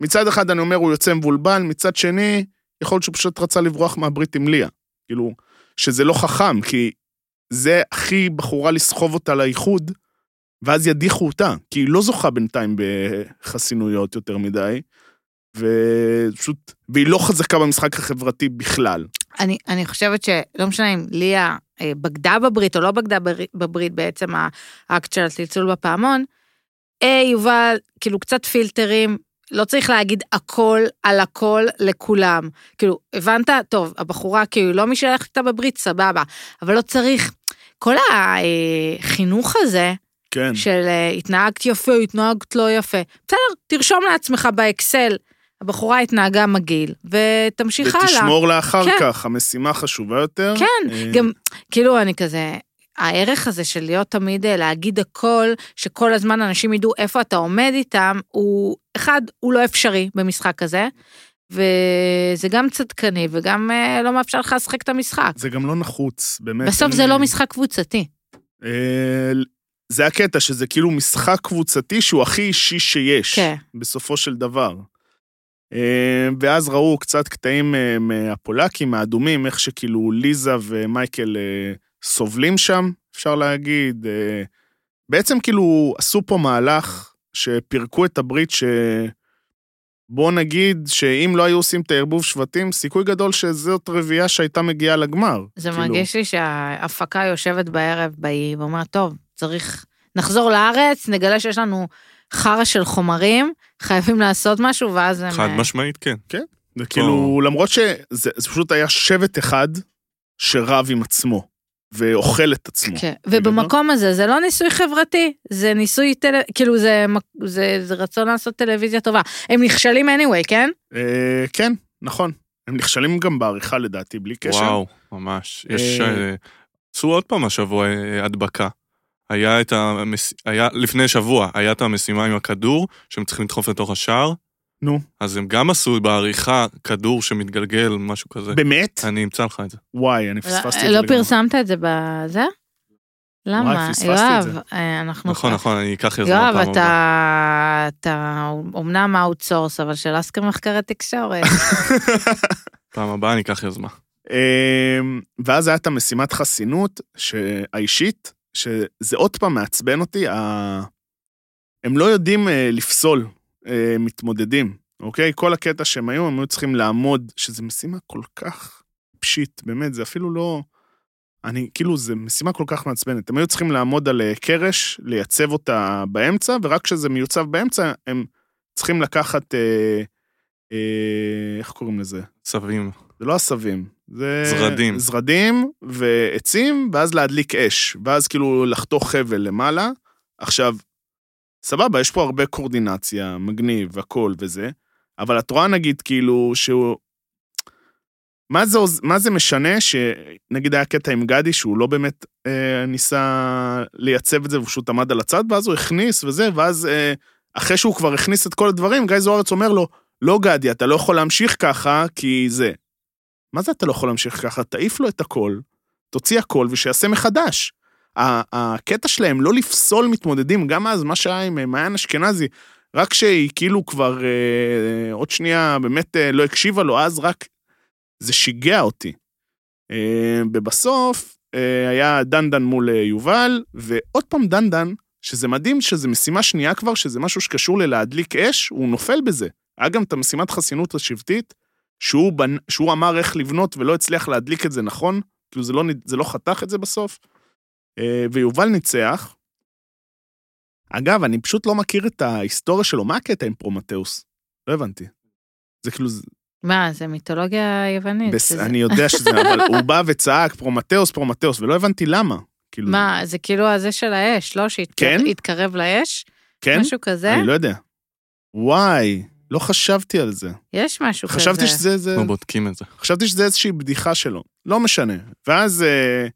S1: מצד אחד אני אומר, הוא יוצא מבולבל, מצד שני, יכול להיות שהוא פשוט רצה לברוח מהברית עם ליה. כאילו, שזה לא חכם, כי זה הכי בחורה לסחוב אותה לאיחוד, ואז ידיחו אותה, כי היא לא זוכה בינתיים בחסינויות יותר מדי, ופשוט... והיא לא חזקה במשחק החברתי בכלל.
S2: אני, אני חושבת שלא משנה אם ליה אה, בגדה בברית או לא בגדה בר- בברית בעצם האקט של הצלצול בפעמון, אה, יובל, כאילו קצת פילטרים, לא צריך להגיד הכל על הכל לכולם. כאילו, הבנת? טוב, הבחורה כאילו לא מי שהלכת איתה בברית, סבבה, אבל לא צריך. כל החינוך הזה,
S1: כן.
S2: של אה, התנהגת יפה או התנהגת לא יפה. בסדר, תרשום לעצמך באקסל, הבחורה התנהגה מגעיל, ותמשיך הלאה.
S1: ותשמור לאחר
S2: כן.
S1: כך, המשימה חשובה יותר.
S2: כן,
S1: אה,
S2: גם, כאילו, אני כזה, הערך הזה של להיות תמיד אה, להגיד הכל, שכל הזמן אנשים ידעו איפה אתה עומד איתם, הוא, אחד, הוא לא אפשרי במשחק הזה, וזה גם צדקני וגם אה, לא מאפשר לך לשחק את המשחק.
S1: זה גם לא נחוץ, באמת.
S2: בסוף
S1: אין-
S2: זה לא משחק קבוצתי.
S1: אה, זה הקטע, שזה כאילו משחק קבוצתי שהוא הכי אישי שיש.
S2: כן.
S1: בסופו של דבר. אה, ואז ראו קצת קטעים אה, מהפולקים, מהאדומים, איך שכאילו ליזה ומייקל אה, סובלים שם, אפשר להגיד. אה, בעצם כאילו עשו פה מהלך שפירקו את הברית ש... בוא נגיד שאם לא היו עושים את הערבוב שבטים, סיכוי גדול שזאת רביעייה שהייתה מגיעה לגמר.
S2: זה
S1: כאילו,
S2: מרגיש לי שההפקה יושבת בערב באי ואומרת, טוב, צריך, נחזור לארץ, נגלה שיש לנו חרא של חומרים, חייבים לעשות משהו, ואז הם...
S3: חד
S2: אה,
S3: משמעית, כן.
S1: זה כאילו, למרות שזה זה פשוט היה שבט אחד שרב עם עצמו, ואוכל את עצמו.
S2: כן, ובמקום הזה זה לא ניסוי חברתי, זה ניסוי, טל... כאילו זה, מק- זה, זה רצון לעשות טלוויזיה טובה. הם נכשלים anyway, כן?
S1: אה, כן, נכון. הם נכשלים גם בעריכה לדעתי, בלי קשר.
S3: וואו, ממש. יש...
S1: אה,
S3: אה, עשו עוד פעם השבוע אה, הדבקה. היה את המס... היה, לפני שבוע, היה את המשימה עם הכדור, שהם צריכים לדחוף לתוך השער.
S1: נו.
S3: אז הם גם עשו בעריכה כדור שמתגלגל, משהו כזה.
S1: באמת?
S3: אני אמצא לך את זה.
S1: וואי, אני פספסתי את זה.
S2: לא
S1: לגמרי.
S2: פרסמת את זה בזה? למה?
S1: פספסתי את
S2: יואב,
S1: זה.
S2: אה, אנחנו...
S3: נכון, נכון, אני אקח את זה
S2: יואב,
S3: מהפעם הבאה.
S2: אתה, אתה אומנם אאוטסורס, אבל של אסקר מחקרי תקשורת.
S3: פעם הבאה אני אקח יוזמה.
S1: אמ, ואז הייתה משימת חסינות ש- האישית, שזה עוד פעם מעצבן אותי, ה- הם לא יודעים אה, לפסול אה, מתמודדים, אוקיי? כל הקטע שהם היו, הם היו צריכים לעמוד, שזו משימה כל כך פשיט, באמת, זה אפילו לא... אני, כאילו, זו משימה כל כך מעצבנת. הם היו צריכים לעמוד על אה, קרש, לייצב אותה באמצע, ורק כשזה מיוצב באמצע, הם צריכים לקחת, אה, אה, איך קוראים לזה?
S3: צווים.
S1: זה לא עשבים, זה...
S3: זרדים.
S1: זרדים ועצים, ואז להדליק אש, ואז כאילו לחתוך חבל למעלה. עכשיו, סבבה, יש פה הרבה קורדינציה, מגניב, הכל וזה, אבל את רואה נגיד כאילו שהוא... מה זה, עוז- מה זה משנה שנגיד היה קטע עם גדי שהוא לא באמת אה, ניסה לייצב את זה והוא פשוט עמד על הצד ואז הוא הכניס וזה ואז אה, אחרי שהוא כבר הכניס את כל הדברים גיא זוארץ אומר לו לא גדי אתה לא יכול להמשיך ככה כי זה. מה זה אתה לא יכול להמשיך ככה? תעיף לו את הכל, תוציא הכל ושיעשה מחדש. ה- הקטע שלהם לא לפסול מתמודדים, גם אז מה שהיה עם אה, מעיין אשכנזי, רק שהיא כאילו כבר אה, עוד שנייה באמת אה, לא הקשיבה לו, אז רק זה שיגע אותי. אה, ובסוף אה, היה דנדן מול אה, יובל, ועוד פעם דנדן, שזה מדהים שזה משימה שנייה כבר, שזה משהו שקשור ללהדליק אש, הוא נופל בזה. היה גם את המשימת חסינות השבטית, שהוא, בנ... שהוא אמר איך לבנות ולא הצליח להדליק את זה נכון, כאילו זה לא, נ- זה לא חתך את זה בסוף. אה, ויובל ניצח. אגב, אני פשוט לא מכיר את ההיסטוריה שלו, מה הקטע עם פרומטאוס? לא הבנתי. זה כאילו, זה-
S2: מה, זה מיתולוגיה יוונית.
S1: בס...
S2: זה-
S1: אני יודע
S2: *laughs*
S1: שזה, אבל הוא בא וצעק פרומטאוס, פרומטאוס, ולא הבנתי למה. כאילו,
S2: מה, זה כאילו הזה של האש, לא?
S1: כן?
S2: שהתקרב לאש?
S1: כן?
S2: משהו כזה?
S1: אני לא יודע. וואי, לא חשבתי על זה.
S2: יש משהו כזה.
S1: חשבתי שזה... זה...
S3: אנחנו בודקים את זה.
S1: חשבתי שזה איזושהי בדיחה שלו. לא משנה. ואז אה,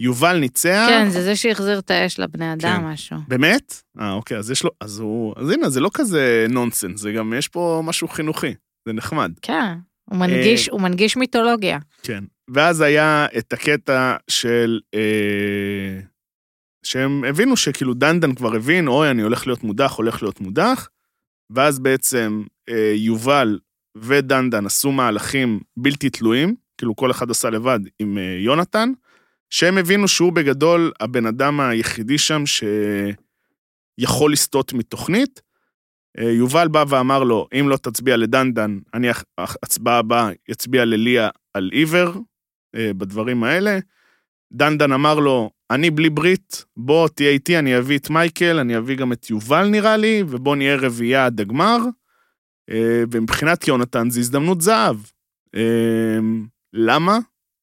S1: יובל ניצח.
S2: כן, זה זה שהחזיר את האש לבני אדם,
S3: כן.
S2: משהו.
S1: באמת? אה, אוקיי, אז יש לו... אז הוא... אז הנה, זה לא כזה נונסנס, זה גם, יש פה משהו חינוכי. זה נחמד.
S2: כן, הוא
S1: אה,
S2: מנגיש, הוא מנגיש מיתולוגיה.
S1: כן. ואז היה את הקטע של... אה, שהם הבינו שכאילו דנדן כבר הבין, אוי, אני הולך להיות מודח, הולך להיות מודח, ואז בעצם אה, יובל ודנדן עשו מהלכים בלתי תלויים, כאילו כל אחד עשה לבד עם אה, יונתן, שהם הבינו שהוא בגדול הבן אדם היחידי שם שיכול לסטות מתוכנית. אה, יובל בא ואמר לו, אם לא תצביע לדנדן, אני אח- אח- הצבעה הבאה יצביע לליה על עיוור, אה, בדברים האלה. דנדן אמר לו, אני בלי ברית, בוא תהיה איתי, אני אביא את מייקל, אני אביא גם את יובל נראה לי, ובוא נהיה רביעייה עד הגמר. אה, ומבחינת יונתן זו הזדמנות זהב. אה, למה?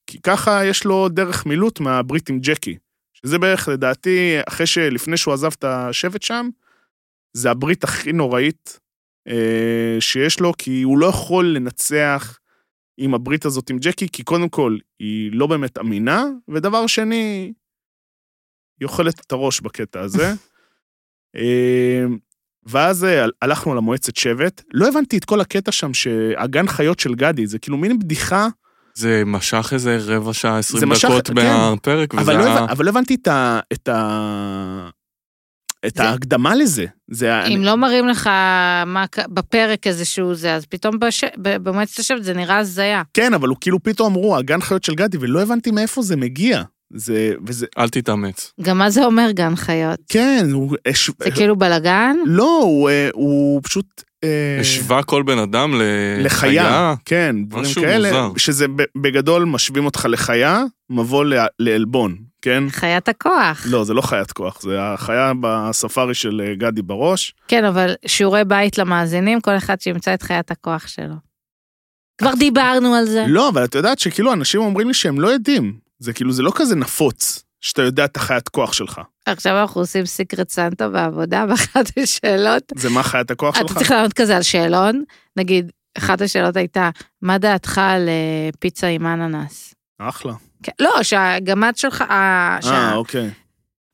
S1: כי ככה יש לו דרך מילוט מהברית עם ג'קי. שזה בערך, לדעתי, אחרי שלפני שהוא עזב את השבט שם, זה הברית הכי נוראית אה, שיש לו, כי הוא לא יכול לנצח עם הברית הזאת עם ג'קי, כי קודם כל, היא לא באמת אמינה, ודבר שני, היא אוכלת את הראש בקטע
S2: *laughs*
S1: הזה. אה, ואז אה, הלכנו למועצת שבט, לא הבנתי את כל הקטע שם, שהגן חיות של גדי, זה כאילו מין בדיחה
S3: זה משך איזה רבע שעה,
S1: זה
S3: עשרים
S1: משך-
S3: דקות
S1: כן.
S3: מהפרק, וזה
S1: אבל, לא,
S3: היה...
S1: הבנ- אבל לא הבנתי את, ה, את, ה, את
S2: זה-
S1: ההקדמה לזה. זה ה-
S2: אם
S1: אני-
S2: לא מראים לך מה ק- בפרק איזשהו זה, אז פתאום בש- ב- במועצת השבט זה נראה הזיה.
S1: כן, אבל הוא כאילו פתאום אמרו, הגן חיות של גדי, ולא הבנתי מאיפה זה מגיע. זה, וזה,
S3: אל תתאמץ.
S2: גם מה זה אומר גן חיות?
S1: כן, הוא... הש-
S2: זה כאילו בלאגן?
S1: לא, הוא, אה, הוא פשוט... אה,
S3: השווה כל בן אדם ל-
S1: לחיה, כן, דברים
S3: אה, משהו
S1: כאלה,
S3: מוזר.
S1: שזה ב- בגדול משווים אותך לחיה, מבוא ל- לעלבון, כן?
S2: חיית הכוח.
S1: לא, זה לא חיית כוח, זה החיה בספארי של אה, גדי בראש.
S2: כן, אבל שיעורי בית למאזינים, כל אחד שימצא את חיית הכוח שלו.
S1: אה,
S2: כבר דיברנו על זה.
S1: לא, אבל את יודעת שכאילו אנשים אומרים לי שהם לא יודעים. זה כאילו, זה לא כזה נפוץ, שאתה יודע את החיית כוח שלך.
S2: עכשיו אנחנו עושים סיקרט סנטה בעבודה, ואחת השאלות,
S1: זה מה חיית הכוח
S2: אה, אתה
S1: שלך?
S2: צריך לענות כזה על שאלון, נגיד, אחת השאלות הייתה, מה דעתך על אה, פיצה עם אננס?
S1: אחלה.
S2: כן, לא, שהגמד שלך, ה- שה-
S1: אה, אוקיי.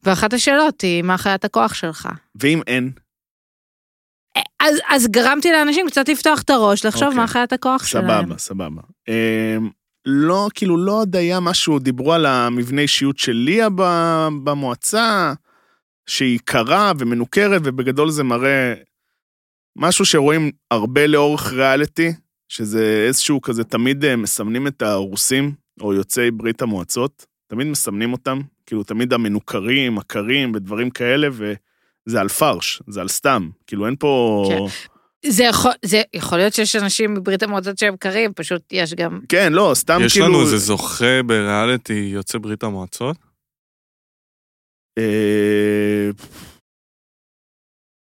S2: ואחת השאלות היא, מה חיית הכוח שלך?
S1: ואם אין,
S2: אז, אז גרמתי לאנשים קצת לפתוח את הראש, לחשוב
S1: אוקיי.
S2: מה חיית הכוח שלהם.
S1: סבבה, סבבה. אמ, לא, כאילו, לא עוד היה משהו, דיברו על המבנה אישיות של ליה ב- במועצה, שהיא קרה ומנוכרת, ובגדול זה מראה משהו שרואים הרבה לאורך ריאליטי, שזה איזשהו כזה, תמיד אה, מסמנים את הרוסים, או יוצאי ברית המועצות, תמיד מסמנים אותם, כאילו, תמיד המנוכרים, הקרים ודברים כאלה, וזה על פרש, זה על סתם, כאילו, אין פה...
S2: כן. זה יכול, זה יכול להיות שיש אנשים מברית המועצות שהם קרים, פשוט יש גם...
S1: כן, לא, סתם
S3: יש
S1: כאילו...
S3: לנו איזה זוכה בריאליטי יוצא ברית המועצות?
S1: אה,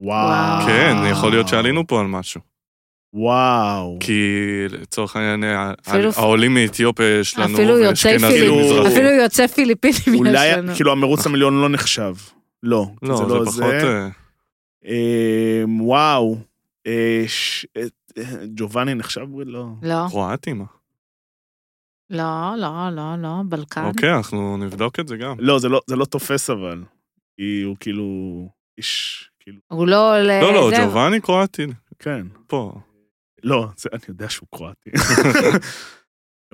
S1: וואו.
S3: כן, יכול להיות שעלינו פה על משהו.
S1: וואו.
S3: כי לצורך העניין, ה-
S2: אפילו-
S3: העולים מאתיופיה יש לנו,
S2: אפילו יוצאי
S3: ואשכנזים
S1: פיליפ-
S3: מזרחים.
S2: אפילו יוצא פיליפינים יש
S1: אולי,
S2: לנו.
S1: כאילו, המרוץ המיליון לא נחשב. לא,
S3: לא, זה פחות... אה,
S1: אה, וואו. אה, ש- אה, אה, ג'ובאני נחשב? לא.
S2: לא,
S3: קרואטי, מה?
S2: לא, לא, לא, לא, בלקן.
S3: אוקיי, אנחנו נבדוק את זה גם.
S1: לא, זה לא- זה לא תופס אבל. כי הוא כאילו... איש, כאילו,
S2: הוא לא עולה...
S3: לא, לא,
S2: זה-
S3: ג'ובאני קרואטי,
S1: כן.
S3: פה.
S1: לא, זה, אני יודע שהוא קרואטי. *laughs*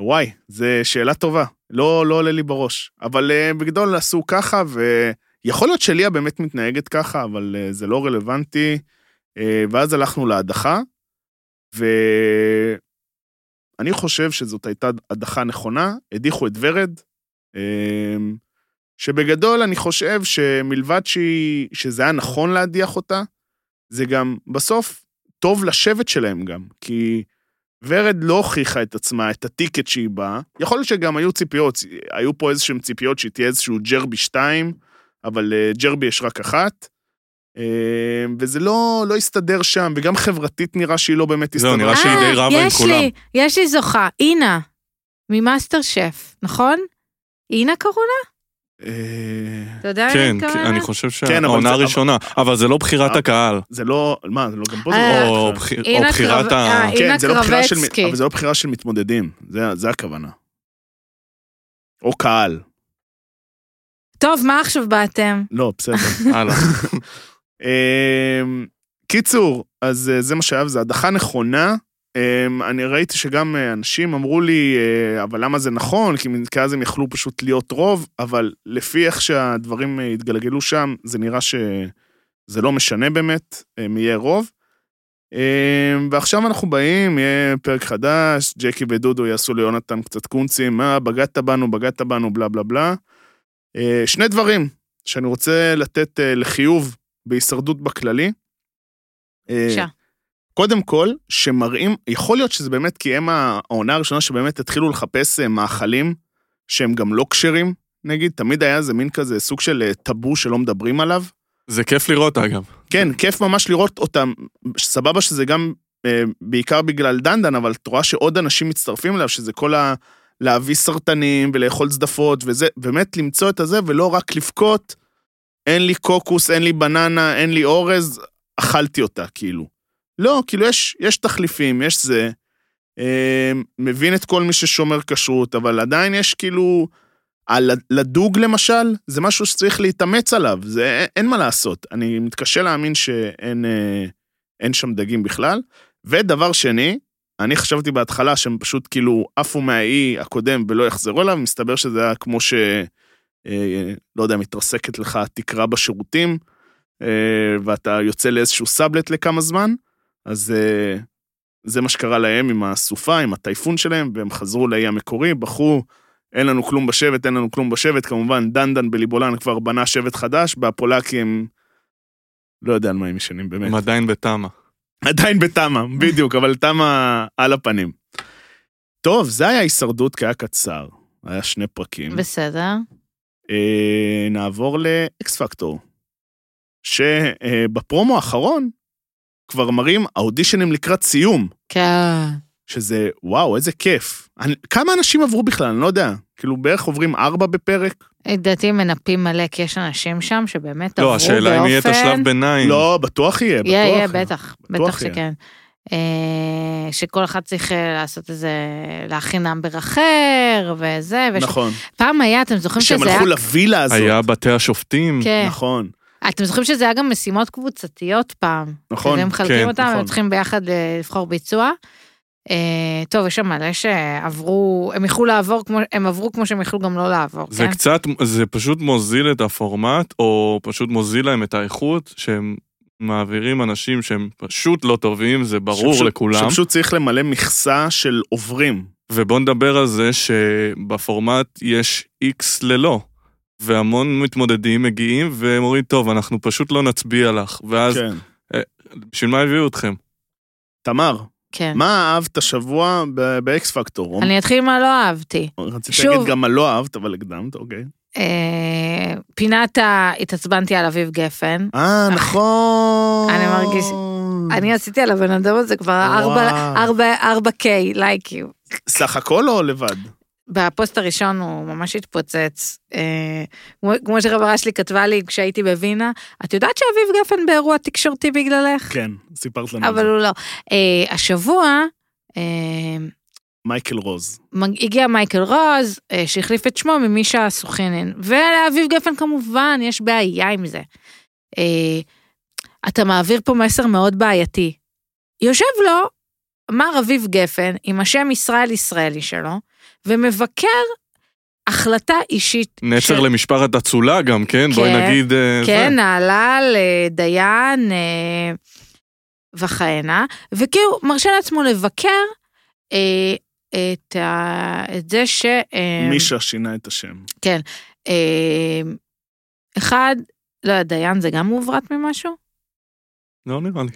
S1: וואי, זו שאלה טובה. לא, לא עולה לי בראש. אבל אה, בגדול עשו ככה, ויכול להיות שליה באמת מתנהגת ככה, אבל אה, זה לא רלוונטי. אה, ואז הלכנו להדחה, ואני חושב שזאת הייתה הדחה נכונה. הדיחו את ורד, אה, שבגדול אני חושב שמלבד שהיא, שזה היה נכון להדיח אותה, זה גם בסוף טוב לשבט שלהם גם, כי ורד לא הוכיחה את עצמה, את הטיקט שהיא באה. יכול להיות שגם היו ציפיות, היו פה איזשהן ציפיות שהיא תהיה איזשהו ג'רבי 2, אבל אה, ג'רבי יש רק אחת. אה, וזה לא, לא הסתדר שם, וגם חברתית נראה שהיא לא באמת
S3: זהו,
S1: הסתדרה.
S3: נראה שהיא די רבה עם
S2: אה, יש לי,
S3: כולם.
S2: יש לי זוכה, אינה, ממאסטר שף, נכון? אינה קראו לה?
S1: אה,
S2: אתה יודע מה אני
S3: כן, כן,
S2: מתכוונת?
S3: אני חושב
S1: כן, אבל
S3: שהעונה
S1: זה- אה.
S3: הראשונה, אבל זה לא בחירת
S1: אבל-
S3: הקהל,
S1: זה לא, מה, זה לא גם פה זה
S2: אה,
S1: לא...
S3: או
S1: בחירה.
S3: בחיר- או
S2: הנה
S3: בחירת
S2: הקרב-
S3: ה...
S2: אה,
S1: כן,
S2: אינה
S1: זה לא בחירה של,
S2: קרבצקי.
S1: אבל זה לא בחירה של מתמודדים, זה, זה הכוונה. או קהל,
S2: טוב, מה עכשיו באתם?
S1: לא, בסדר.
S3: הלאה.
S1: אמ, קיצור, אז אה, זה מה שהיה, וזו הדחה נכונה. אמ, אני ראיתי שגם אה, אנשים אמרו לי, אה, אבל למה זה נכון? כי מן- כי אז הם יכלו פשוט להיות רוב, אבל לפי איך שהדברים אה, התגלגלו שם, זה נראה שזה לא משנה באמת, הם יהיה רוב. אמ, ועכשיו אנחנו באים, יהיה פרק חדש, ג'קי ודודו יעשו ליונתן קצת קונצים, מה, בגדת בנו, בגדת בנו, בלה בלה בלה. אה, שני דברים שאני רוצה לתת אה, לחיוב בהישרדות בכללי. אה,
S2: בבקשה.
S1: קודם כל, שמראים, יכול להיות שזה באמת כי הם העונה הראשונה שבאמת התחילו לחפש אה, מאכלים שהם גם לא כשרים, נגיד, תמיד היה איזה מין כזה סוג של אה, טאבו שלא מדברים עליו.
S3: זה כיף לראות, אגב.
S1: כן, כיף ממש לראות אותם, סבבה שזה גם אה, בעיקר בגלל דנדן, אבל את רואה שעוד אנשים מצטרפים אליו, שזה כל ה... להביא סרטנים ולאכול צדפות וזה, באמת למצוא את הזה ולא רק לבכות, אין לי קוקוס, אין לי בננה, אין לי אורז, אכלתי אותה, כאילו. לא, כאילו יש, יש תחליפים, יש זה. אה, מבין את כל מי ששומר כשרות, אבל עדיין יש כאילו... על לדוג למשל, זה משהו שצריך להתאמץ עליו, זה אין מה לעשות. אני מתקשה להאמין שאין אה, אין שם דגים בכלל. ודבר שני, אני חשבתי בהתחלה שהם פשוט כאילו עפו מהאי הקודם ולא יחזרו אליו, מסתבר שזה היה כמו ש... אה, לא יודע, מתרסקת לך התקרה בשירותים, אה, ואתה יוצא לאיזשהו סאבלט לכמה זמן, אז אה, זה מה שקרה להם עם הסופה, עם הטייפון שלהם, והם חזרו לאי המקורי, בחרו, אין לנו כלום בשבט, אין לנו כלום בשבט, כמובן, דנדן בליבולן כבר בנה שבט חדש, והפולקים, לא יודע על מה הם ישנים באמת.
S3: הם עדיין לא, בתמה.
S1: עדיין בתמה, בדיוק, אבל תמה על הפנים. טוב, זה היה הישרדות כי היה קצר. היה שני פרקים.
S2: בסדר.
S1: אה, נעבור לאקס פקטור, שבפרומו האחרון כבר מראים האודישנים לקראת סיום,
S2: כן.
S1: שזה וואו, איזה כיף. אני, כמה אנשים עברו בכלל? אני לא יודע. כאילו בערך עוברים ארבע בפרק?
S2: לדעתי מנפים מלא, כי יש אנשים שם שבאמת עברו
S3: לא,
S2: באופן...
S3: השאלה אם יהיה את השלב ביניים.
S1: לא, בטוח יהיה, בטוח.
S2: יהיה, יהיה, בטח,
S1: בטוח
S2: בטח
S1: יהיה.
S2: שכן. אה, שכל אחד צריך אה, לעשות איזה, להכין אמבר אחר, וזה, וש-
S1: נכון.
S2: פעם היה, אתם זוכרים
S1: כשהם
S2: שזה היה...
S1: הלכו לווילה הזאת.
S3: היה בתי השופטים.
S2: כן.
S1: נכון,
S2: אתם זוכרים שזה היה גם משימות קבוצתיות פעם.
S1: נכון.
S2: כזה הם מחלקים
S3: כן,
S2: אותם,
S1: נכון.
S2: הם צריכים ביחד אה, לבחור ביצוע. אה, טוב, יש שם מלא שעברו, הם יכלו לעבור, כמו- הם עברו כמו שהם יכלו גם לא לעבור,
S3: זה
S2: כן?
S3: קצת, זה פשוט מוזיל את הפורמט, או פשוט מוזיל להם את האיכות, שהם מעבירים אנשים שהם פשוט לא טובים, זה ברור
S1: שפשוט-
S3: לכולם.
S1: שפשוט צריך למלא מכסה של עוברים.
S3: ובואו נדבר על זה שבפורמט יש איקס ללא, והמון מתמודדים מגיעים והם אומרים, טוב, אנחנו פשוט לא נצביע לך, ואז
S1: כן.
S3: בשביל מה הביאו אתכם?
S1: תמר,
S2: כן.
S1: מה אהבת השבוע ב- באקס פקטור?
S2: אני אתחיל עם מה לא אהבתי.
S1: רציתי
S2: שוב.
S1: להגיד גם מה לא אהבת, אבל הקדמת, אוקיי.
S2: אה, פינת ה... התעצבנתי על אביב גפן.
S1: אה, נכון.
S2: אני מרגיש- אני עשיתי על הבן אדם הזה כבר ארבע-
S1: Mm. וואו.
S2: ארבע- ארבע קיי לייקים.
S1: סך הכל או לבד?
S2: בפוסט הראשון הוא ממש התפוצץ. אה, כמו- כמו שחברה שלי כתבה לי כשהייתי בווינה, את יודעת שאביב גפן באירוע תקשורתי בגללך?
S1: כן, סיפרת לנו.
S2: אבל
S1: אבל...
S2: הוא לא. אה, השבוע אה,
S1: מייקל רוז.
S2: מג- הגיע מייקל רוז, אה, שהחליף את שמו ממישה סוכנין, ולאביב גפן כמובן יש בעיה עם זה. אה, אתה מעביר פה מסר מאוד בעייתי. יושב לו מר אביב גפן עם השם ישראל ישראלי שלו, ומבקר החלטה אישית.
S3: נצר למשפחת אצולה גם, כן? בואי
S2: כן,
S3: נגיד... אה, זה.
S2: כן, נהלל, אה, דיין אה, וכהנה, וכאילו מרשה לעצמו לבקר אה, את, ה, את זה ש... אה,
S1: מישה שינה את השם.
S2: אה, אחד, לא יודע, דיין זה גם מעוברת ממשהו?
S3: לא נראה לי.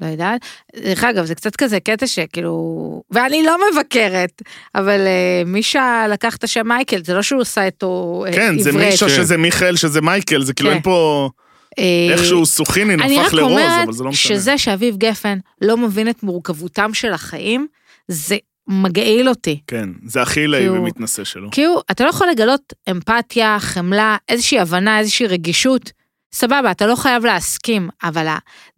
S2: לא יודעת. דרך אגב, זה קצת כזה קטע שכאילו... ואני לא מבקרת, אבל אה, מישה לקח את השם מייקל, זה לא שהוא עשה איתו אה, עברת.
S1: כן, זה מישה
S3: כן.
S1: שזה מיכאל, שזה מייקל, זה כאילו
S2: כן.
S1: אין פה
S2: אה,
S1: איכשהו סוכינין
S2: אני רק
S1: הפך לרוז, אבל זה לא
S2: אומרת
S1: משנה.
S2: שזה שאביב גפן לא מבין את מורכבותם של החיים, זה מגעיל אותי.
S1: כן, זה הכי עילאי
S2: כאילו-
S1: ומתנשא שלו.
S2: כי הוא, אתה לא יכול לגלות אמפתיה, חמלה, איזושהי הבנה, איזושהי רגישות. סבבה, אתה לא חייב להסכים, אבל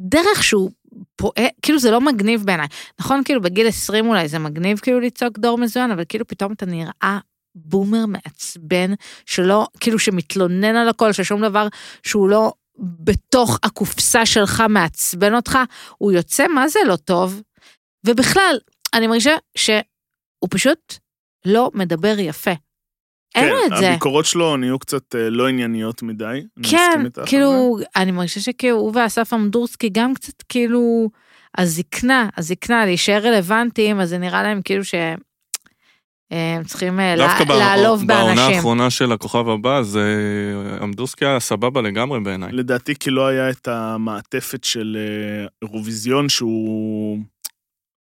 S2: הדרך שהוא פועל, כאילו זה לא מגניב בעיניי. נכון, כאילו בגיל 20 אולי זה מגניב כאילו לצעוק דור מזוין, אבל כאילו פתאום אתה נראה בומר מעצבן, שלא, כאילו שמתלונן על הכל, ששום דבר שהוא לא בתוך הקופסה שלך מעצבן אותך, הוא יוצא מה זה לא טוב. ובכלל, אני מרגישה שהוא פשוט לא מדבר יפה. אין לו את
S1: כן,
S2: זה.
S1: הביקורות שלו נהיו קצת אה, לא ענייניות מדי. אני
S2: כן,
S1: מסכים איתך על זה.
S2: כאילו, אני מרגישה שכאילו הוא ואסף אמדורסקי גם קצת כאילו, הזקנה, הזקנה, להישאר רלוונטיים, אז זה נראה להם כאילו שהם צריכים אה,
S3: דווקא
S2: לה- לעלוב
S3: בעונה
S2: באנשים.
S3: האחרונה של הכוכב הבא, זה אמדורסקי היה סבבה לגמרי בעיניי.
S1: לדעתי כי לא היה את המעטפת של אה, אירוויזיון שהוא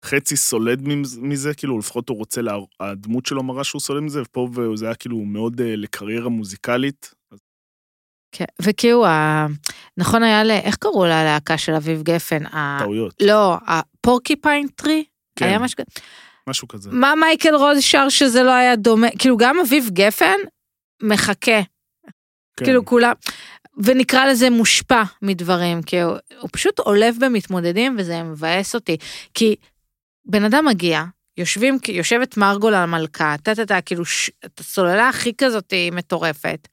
S1: חצי סולד ממז- מזה, כאילו לפחות הוא רוצה, לה... הדמות שלו מראה שהוא סולד מזה, ופה זה היה כאילו מאוד אה, לקריירה מוזיקלית. אז
S2: כן, וכאילו, ה- נכון היה ל... איך קראו ללהקה של אביב גפן? ה-
S1: טעויות.
S2: לא, הפורקיפיין טרי?
S1: כן,
S2: היה משהו כזה.
S1: משהו כזה.
S2: מה מייקל רוז שר שזה לא היה דומה? כאילו, גם אביב גפן מחכה.
S1: כן.
S2: כאילו כולם, ונקרא לזה מושפע מדברים, כי הוא, הוא פשוט עולב במתמודדים וזה מבאס אותי. כי בן אדם מגיע, יושבים, יושבת מרגול על מלכה, טה טה טה, כאילו ש, את הסוללה הכי כזאת היא מטורפת.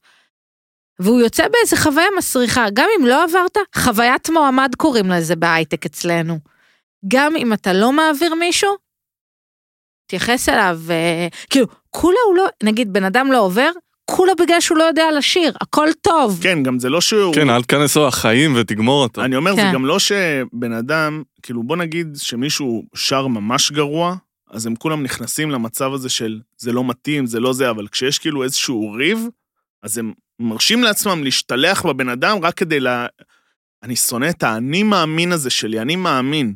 S2: והוא יוצא באיזה חוויה מסריחה, גם אם לא עברת, חוויית מועמד קוראים לזה בהייטק אצלנו. גם אם אתה לא מעביר מישהו, תתייחס אליו, אה, כאילו, כולה הוא לא, נגיד בן אדם לא עובר, כולה בגלל שהוא לא יודע לשיר, הכל טוב.
S1: כן, גם זה לא שהוא...
S3: כן, אל תיכנס לו לחיים ותגמור אותו.
S1: אני אומר, זה
S2: כן.
S1: גם לא שבן אדם, כאילו בוא נגיד שמישהו שר ממש גרוע, אז הם כולם נכנסים למצב הזה של זה לא מתאים, זה לא זה, אבל כשיש כאילו איזשהו ריב, אז הם מרשים לעצמם להשתלח בבן אדם רק כדי ל... אני שונא את האני מאמין הזה שלי, אני מאמין.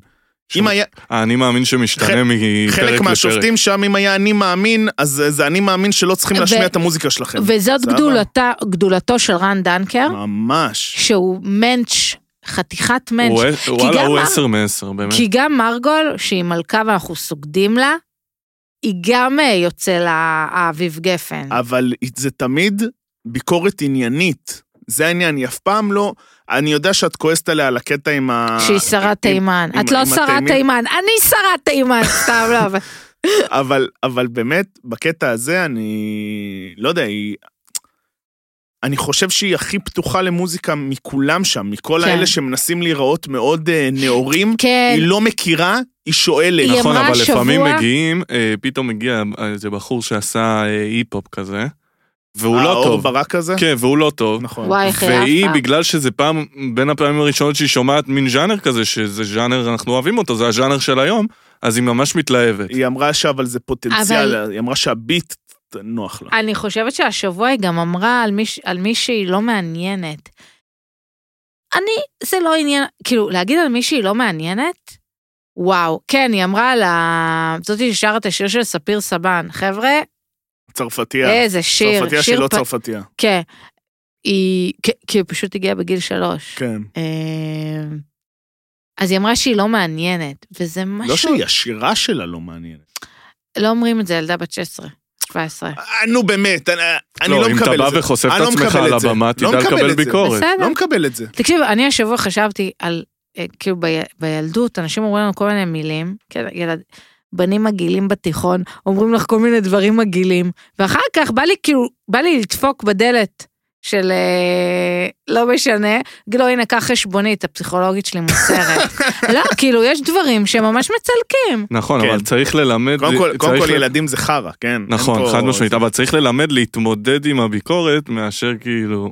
S3: ש-
S1: אם היה,
S3: אה, אני מאמין שמשתנה מפרק
S1: חלק
S3: לפרק.
S1: מהשופטים שם, אם היה אני מאמין, אז זה אני מאמין שלא צריכים
S2: ו-
S1: להשמיע את המוזיקה שלכם.
S2: וזאת
S1: זהבה.
S2: גדולתה, גדולתו של רן דנקר,
S1: כן, ממש.
S2: שהוא מענץ', חתיכת מענץ'.
S3: הוא- וואלה,
S2: גם
S3: הוא
S2: מה-
S3: 10 מ-10, באמת.
S2: כי גם מרגול, שהיא מלכה ואנחנו סוגדים לה, היא גם אה, יוצא לה האביב גפן.
S1: אבל זה תמיד ביקורת עניינית. זה העניין, היא אף פעם לא... אני יודע שאת כועסת עליה על הקטע עם ה...
S2: שהיא שרת תימן.
S1: עם-
S2: את לא
S1: עם
S2: שרת
S1: התימנים.
S2: תימן, אני שרת
S1: *laughs*
S2: תימן, סתם לא. אבל-
S1: אבל, אבל באמת, בקטע הזה אני... לא יודע, היא... אני חושב שהיא הכי פתוחה למוזיקה מכולם שם, מכל
S2: כן.
S1: האלה שמנסים להיראות מאוד אה, נאורים.
S2: כן,
S1: היא לא מכירה, היא שואלת.
S2: היא
S3: נכון,
S2: אמרה
S3: אבל לפעמים
S2: השבוע-
S3: מגיעים, אה, פתאום מגיע איזה בחור שעשה אה, היפ-הופ כזה, והוא לא
S1: אה, האור
S3: טוב.
S1: ברק הזה?
S3: כן, והוא לא טוב.
S1: נכון.
S2: וואי, איך
S3: והיא,
S2: העפת.
S3: בגלל שזה פעם, בין הפעמים הראשונות שהיא שומעת מין ז'אנר כזה, שזה ז'אנר, אנחנו אוהבים אותו, זה הז'אנר של היום, אז היא ממש מתלהבת.
S1: היא אמרה שאבל זה פוטנציאל,
S2: אבל-
S1: היא אמרה שהביט נוח לה.
S2: אני חושבת שהשבוע היא גם אמרה על, מיש, על מישהי לא מעניינת. אני, זה לא עניין, כאילו, להגיד על מישהי לא מעניינת? וואו. כן, היא אמרה על ה... זאתי ששרה את השיר של ספיר סבן. חבר'ה,
S1: צרפתייה.
S2: איזה אה, שיר.
S1: צרפתייה
S2: שיר
S1: שהיא לא
S2: פ-
S1: צרפתייה.
S2: כן. היא, כי- כי היא פשוט הגיעה בגיל שלוש.
S1: כן.
S2: אמ, אז היא אמרה שהיא לא מעניינת, וזה משהו...
S1: לא שהיא, השירה שלה לא מעניינת.
S2: לא אומרים את זה, ילדה בת 16, 17.
S1: אה, נו באמת, אני אני
S3: לא,
S1: לא
S3: אם
S1: מקבל את זה.
S3: אתה בא וחושף
S1: אני
S3: את
S1: לא
S3: עצמך
S1: מקבל
S3: על
S1: את זה.
S3: הבמה, תדע
S1: לא מקבל
S3: לקבל
S1: את זה.
S3: ביקורת.
S2: בסדר.
S1: לא מקבל את זה.
S2: תקשיב, אני השבוע חשבתי על, אה, כאילו בי, בילדות, אנשים אומרים לנו כל מיני מילים, כן, ילד, בנים מגעילים בתיכון, אומרים לך כל מיני דברים מגעילים, ואחר כך בא לי כאילו, בא לי לדפוק בדלת של אה, לא משנה, להגיד לו הנה, קח חשבונית, הפסיכולוגית שלי
S1: *laughs*
S2: מוסרת. לא, כאילו, יש דברים שממש מצלקים.
S3: נכון,
S1: כן.
S3: אבל צריך ללמד... אה,
S1: קודם כל- קודם
S3: צריך
S1: כל
S3: ל-
S1: ילדים זה חרא, כן? אין
S3: נכון,
S1: פה-
S3: חד משמעית, אבל צריך ללמד להתמודד עם הביקורת מאשר כאילו...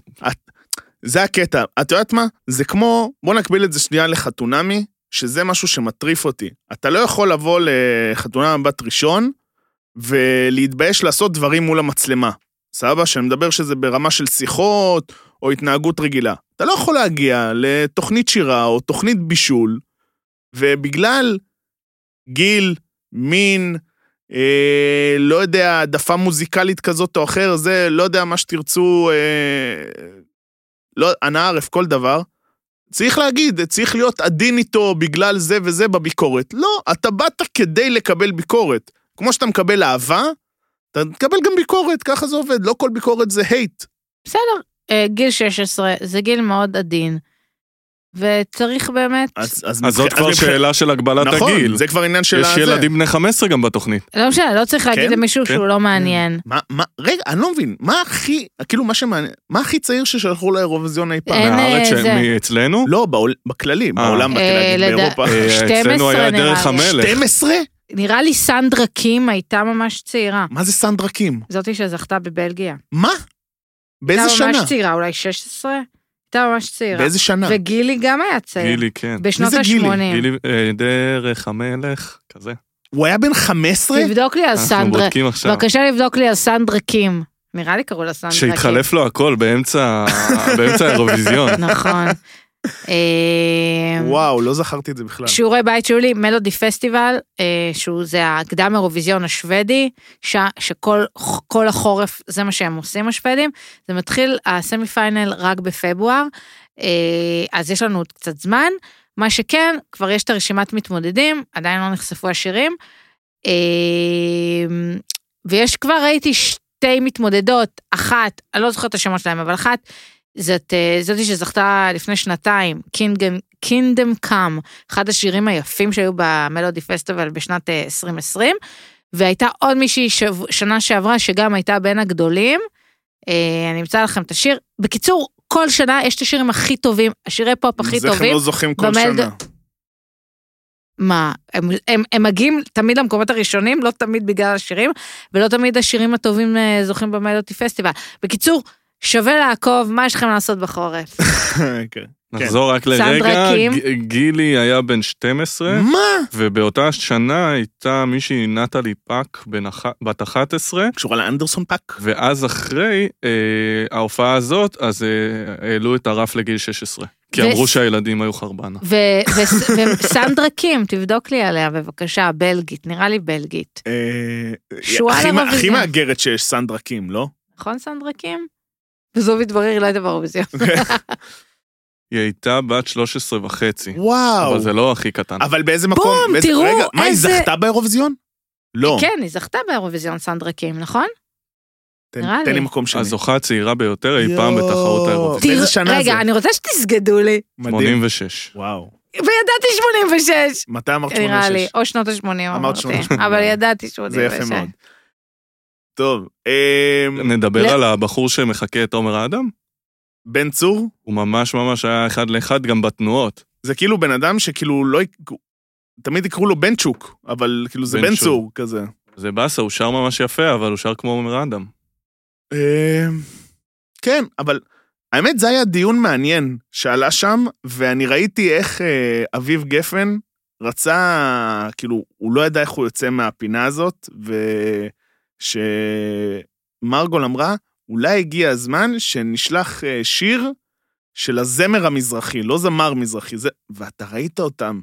S1: זה הקטע. את יודעת מה? זה כמו, בוא נקביל את זה שנייה לחתונמי, שזה משהו שמטריף אותי. אתה לא יכול לבוא לחתונה מבט ראשון ולהתבייש לעשות דברים מול המצלמה. סבבה? שאני מדבר שזה ברמה של שיחות או התנהגות רגילה. אתה לא יכול להגיע לתוכנית שירה או תוכנית בישול, ובגלל גיל, מין, אה, לא יודע, העדפה מוזיקלית כזאת או אחר, זה לא יודע מה שתרצו, אה, לא, אנא ערף כל דבר. צריך להגיד, צריך להיות עדין איתו בגלל זה וזה בביקורת. לא, אתה באת כדי לקבל ביקורת. כמו שאתה מקבל אהבה, אתה תקבל גם ביקורת, ככה זה עובד, לא כל ביקורת זה הייט.
S2: בסדר, אה, גיל 16 זה גיל מאוד עדין, וצריך באמת,
S1: אז, אז,
S3: אז זאת
S1: מבח-
S3: כבר
S1: מבח-
S3: שאלה של הגבלת הגיל.
S1: נכון, זה כבר עניין של
S3: יש
S1: הזה.
S3: ילדים בני 15 גם בתוכנית.
S2: לא משנה, לא צריך להגיד
S1: כן,
S2: למישהו
S3: כן.
S2: שהוא לא מעניין.
S1: מה, מה, רגע, אני לא מבין, מה הכי, כאילו מה שמעניין, מה הכי צעיר ששלחו לאירוויזיון אי פעם?
S2: אין,
S3: מהארץ,
S2: אה, זה.
S3: מאצלנו?
S1: לא, בעול, בכללי,
S3: אה.
S1: בעולם,
S2: אה,
S1: באתי להגיד,
S2: לדע-
S1: באירופה.
S3: אה,
S2: 12
S3: אצלנו היה
S2: נראה
S3: דרך
S2: לי.
S3: המלך.
S1: 12?
S2: נראה לי סנדרה קים הייתה ממש צעירה.
S1: מה זה סנדרקים?
S2: זאתי שזכתה בבלגיה.
S1: מה? באיזה
S2: הייתה
S1: שנה?
S2: לא, ממש צעירה, אולי 16? הייתה ממש צעירה.
S1: באיזה שנה?
S2: וגילי גם היה צעיר.
S3: גילי, כן.
S2: בשנות
S1: מי זה גילי?
S2: ה-80.
S3: גילי, אה, דרך המלך, כזה.
S1: הוא היה בן 15?
S2: תבדוק לי על
S3: אנחנו
S2: סנדרה.
S3: בודקים עכשיו.
S2: בבקשה לבדוק לי על סנדרה קים. נראה לי קראו לה סנדרה קים.
S3: שהתחלף לו הכל
S1: *laughs*
S3: באמצע באמצע האירוויזיון.
S2: נכון. אה,
S1: וואו, לא זכרתי את זה בכלל.
S2: שיעורי בית שהיו לי, מלודי פסטיבל, אה, שהוא זה הקדם אירוויזיון השוודי, ש, שכל כל החורף זה מה שהם עושים השוודים, זה מתחיל הסמי פיינל רק בפברואר, אה, אז יש לנו עוד קצת זמן, מה שכן, כבר יש את הרשימת מתמודדים, עדיין לא נחשפו השירים, אה, ויש כבר, ראיתי שתי מתמודדות, אחת, אני לא זוכרת את השמות שלהם, אבל אחת, זאת אה, זאתי שזכתה לפני שנתיים, Kingdom, Kingdom Come, אחד השירים היפים שהיו במלודי פסטיבל בשנת אה, 2020, והייתה עוד מישהי שב- שנה שעברה שגם הייתה בין הגדולים. אה, אני אמצא לכם את השיר. בקיצור, כל שנה יש את השירים הכי טובים, השירי פופ הכי
S1: אז איך הם
S2: טובים.
S1: לא זוכים כל
S2: במלד-
S1: שנה. *laughs*
S2: מה, הם, הם, הם מגיעים תמיד למקומות הראשונים, לא תמיד בגלל השירים, ולא תמיד השירים הטובים אה, זוכים במלודי פסטיבל. בקיצור, שווה לעקוב, מה יש לכם לעשות בחורף?
S1: כן.
S3: נחזור רק
S2: סנדרה
S3: לרגע,
S2: קים.
S3: ג- גילי היה בן 12,
S1: מה?
S3: ובאותה שנה הייתה מישהי נטלי פאק בן אח- בת 11,
S1: קשורה לאנדרסון פאק?
S3: ואז אחרי אה, ההופעה הזאת, אז אה, העלו את הרף לגיל 16. כי
S2: ו-
S3: אמרו שהילדים היו חרבנה.
S2: ו- ו- וסנדרה קים, תבדוק לי עליה בבקשה, בלגית, נראה לי בלגית.
S1: אה,
S2: שועל
S1: הכי מה-
S2: אירוויזיון.
S1: הכי מאתגרת שיש סנדרקים, לא?
S2: נכון סנדרה קים? וזו מתברר, לא הייתה באירוויזיון.
S3: היא הייתה בת 13 וחצי,
S1: *laughs* וואו.
S3: אבל זה לא הכי קטן.
S1: אבל באיזה מקום?
S2: בום,
S1: באיזה-
S2: תראו,
S1: רגע, מה, היא
S2: איזה-
S1: זכתה באירוויזיון? לא.
S2: כן, היא זכתה באירוויזיון סנדרה קים, נכון?
S1: תן-
S2: נראה
S1: תן לי
S2: לי.
S1: מקום שני.
S3: הזוכה הצעירה ביותר אי פעם
S1: יואו.
S3: בתחרות האירוויזיון.
S1: באיזה
S2: תראה-
S1: שנה זה?
S2: רגע, אני רוצה שתסגדו לי.
S1: מדהים.
S3: 86.
S1: וואו.
S2: וידעתי 86,
S1: מתי אמרת 86?
S2: נראה לי, או שנות ה-80 אמרתי,
S1: 88.
S2: אבל ידעתי
S1: זה
S2: 86.
S1: יפה מאוד. טוב, אמ,
S3: נדבר
S2: לא.
S3: על הבחור שמחקה את עומר האדם?
S1: בן צור?
S3: הוא ממש ממש היה אחד לאחד גם בתנועות.
S1: זה כאילו בן אדם שכאילו לא... יק- תמיד יקראו לו בן צ'וק, אבל כאילו זה
S3: בן
S1: בן
S3: צור.
S1: צור כזה.
S3: זה באסה, הוא שר ממש יפה, אבל הוא שר כמו עומר אדם.
S1: אמ, כן, אבל האמת זה היה דיון מעניין שעלה שם, ואני ראיתי איך אה, אביב גפן רצה, כאילו, הוא לא ידע איך הוא יוצא מהפינה הזאת, ושמרגול אמרה, אולי הגיע הזמן שנשלח אה, שיר של הזמר המזרחי, לא זמר מזרחי, זה... ואתה ראית אותם,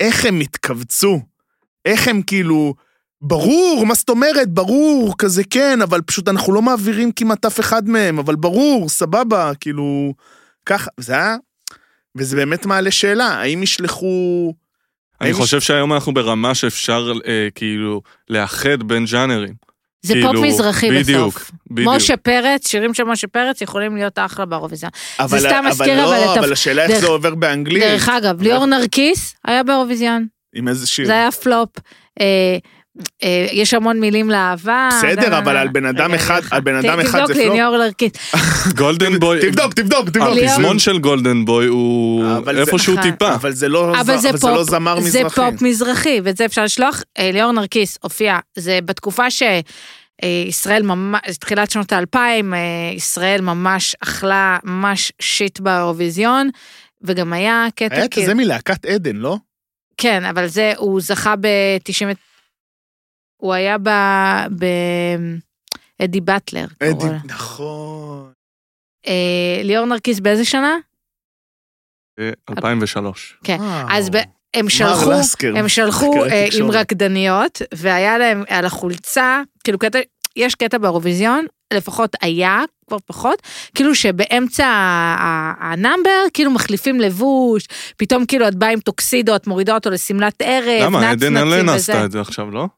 S1: איך הם התכווצו, איך הם כאילו... ברור, מה זאת אומרת, ברור, כזה כן, אבל פשוט אנחנו לא מעבירים כמעט אף אחד מהם, אבל ברור, סבבה, כאילו, ככה, זה היה, וזה באמת מעלה שאלה, האם ישלחו...
S3: אני
S1: האם-
S3: חושב שהיום אנחנו ברמה שאפשר אה, כאילו לאחד בין ז'אנרים.
S2: זה
S3: כאילו,
S2: פופ מזרחי
S3: בדיוק,
S2: בסוף.
S3: בדיוק.
S2: משה פרץ, שירים של משה פרץ יכולים להיות אחלה באירוויזיון.
S1: אבל-
S2: סתם מזכיר,
S1: אבל
S2: אבל
S1: לא,
S2: את
S1: אבל
S2: הפ-
S1: השאלה איך
S2: דרך-
S1: זה עובר באנגלית,
S2: דרך אגב, ליאור נרקיס היה באירוויזיון,
S1: עם איזה שיר.
S2: זה היה פלופ. אה, אה, יש המון מילים לאהבה. אה,
S1: בסדר,
S2: דה,
S1: אבל
S2: דה,
S1: על בן
S2: דה.
S1: אדם
S2: רגע,
S1: אחד-
S2: רגע.
S1: על בן
S2: ת-
S1: אדם אחד זה
S2: תבדוק לי,
S1: פלופ?
S2: ליאור נרקיס.
S3: גולדן בוי, אה,
S1: תבדוק, תבדוק, תבדוק.
S3: הפזמון של גולדן בוי הוא
S1: אבל זה-
S3: איפשהו
S2: אה,
S3: טיפה.
S1: אבל זה לא ז-
S2: אבל זה
S1: אבל זה לא
S2: פופ,
S1: זמר
S2: זה
S1: מזרחי.
S2: פופ מזרחי, ואת זה אפשר לשלוח. אה, ליאור נרקיס הופיע, זה בתקופה ש... אה, ישראל ממש, תחילת שנות האלפיים, אה, ישראל ממש אכלה ממש שיט באירוויזיון, וגם היה קטע
S1: היה את
S2: כאילו-
S1: זה מלהקת עדן, לא?
S2: כן, אבל זה, הוא זכה ב-90... הוא היה ב... ב... אדי באטלר. קראו
S1: עדן,
S2: לה.
S1: נכון.
S2: אה, ליאור נרקיס באיזה שנה?
S3: אה, 2003.
S2: כן. אז ב- הם
S1: מר
S2: שלחו,
S1: לסקר.
S2: הם שלחו
S1: חקרי
S2: אה, עם
S1: לא תקשורת.
S2: רקדניות, והיה להם על החולצה, כאילו קטע, יש קטע באירוויזיון, לפחות היה, כבר פחות, כאילו שבאמצע ה- ה- הנאמבר, כאילו מחליפים לבוש, פתאום כאילו את באה עם טוקסידו, את מורידה אותו לשמלת ערב,
S3: למה? עדן
S2: נצנצים
S3: אלנה
S2: וזה.
S3: עשתה את זה עכשיו, לא?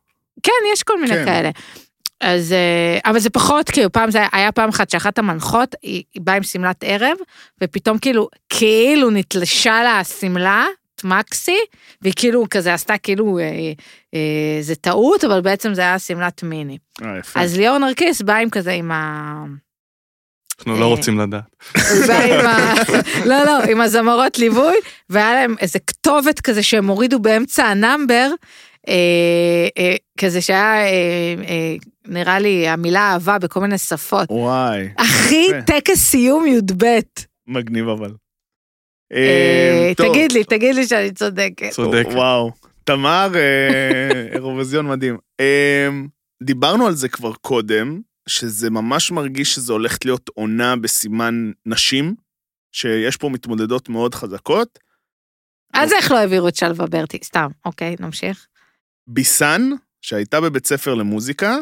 S2: כן, יש כל מיני
S1: כן.
S2: כן. כאלה. אז, אה, אבל זה פחות, כאילו, פעם זה היה- היה פעם אחת שאחת המנחות, היא, היא באה עם שמלת ערב, ופתאום כאילו, כאילו נתלשה לה השמלה, את מקסי, והיא כאילו כזה עשתה כאילו, אה, אה, זה טעות, אבל בעצם זה היה שמלת מיני.
S1: אה, יפה.
S2: אז ליאור נרקיס באה עם כזה, עם ה...
S3: אנחנו לא
S2: אה.
S3: רוצים לדעת.
S2: הוא בא עם ה... לא, לא, עם הזמרות ליווי, והיה להם איזה כתובת כזה שהם הורידו באמצע הנאמבר, אה, אה, כזה שהיה, אה, אה, נראה לי, המילה אהבה בכל מיני שפות.
S1: וואי,
S2: אחי,
S1: יפה.
S2: טקס סיום י"ב.
S1: מגניב אבל.
S2: אה,
S1: אה, טוב.
S2: תגיד לי, תגיד לי שאני צודקת.
S3: צודק.
S1: וואו. תמר, אה, *laughs* אירוויזיון מדהים. אה, דיברנו על זה כבר קודם, שזה ממש מרגיש שזה הולכת להיות עונה בסימן נשים, שיש פה מתמודדות מאוד חזקות.
S2: אז איך לא העבירו את שלווה ברטי? סתם, אוקיי, נמשיך.
S1: ביסן, שהייתה בבית ספר למוזיקה,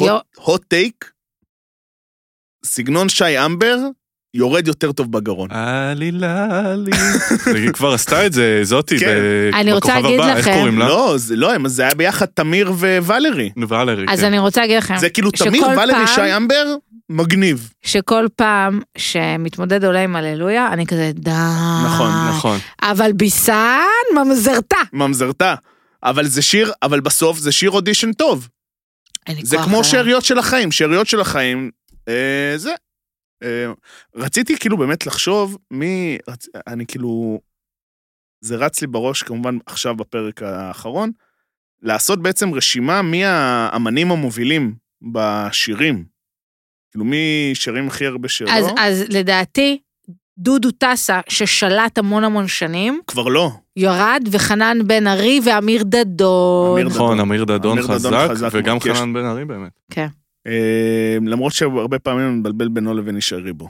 S2: יו,
S1: hot טייק, סגנון שי אמבר, יורד יותר טוב בגרון.
S3: אה, עלילה *laughs* לי. היא כבר עשתה את זה, זאתי,
S1: כן.
S3: ב-
S2: אני רוצה
S3: בכוכב
S2: להגיד
S3: הבא, איך
S2: לכם-
S3: קוראים לה?
S1: לא, זה לא, הם- זה היה ביחד תמיר וואלרי.
S3: ולרי,
S2: אז
S3: כן.
S2: אני רוצה להגיד לכם,
S1: אוקיי. זה כאילו
S2: שכל
S1: תמיר, ואלרי,
S2: פעם-
S1: שי אמבר, מגניב.
S2: שכל פעם שמתמודד עולה עם הללויה, אני כזה, די.
S1: נכון,
S3: נכון.
S2: אבל ביסן ממזרתה.
S1: ממזרתה. אבל זה שיר, אבל בסוף זה שיר אודישן טוב.
S2: אין לי
S1: זה
S2: כוח
S1: כמו
S2: עליה.
S1: שאריות של החיים, שאריות של החיים, אה, זה. אה, רציתי כאילו באמת לחשוב מי, רצ... אני כאילו, זה רץ לי בראש כמובן עכשיו בפרק האחרון, לעשות בעצם רשימה מי האמנים המובילים בשירים. כאילו מי שרים הכי הרבה שלא,
S2: אז, אז לדעתי, דודו טסה, ששלט המון המון שנים,
S1: כבר לא.
S2: ירד, וחנן בן ארי ואמיר דדון.
S1: אמיר דדון.
S3: נכון, אמיר דדון
S1: אמיר דדון
S3: חזק,
S1: חזק
S3: וגם
S1: מאוד, כי יש-
S3: חנן בן ארי באמת.
S1: אה, למרות שהרבה פעמים אני מבלבל בינו לבין ישי ריבו.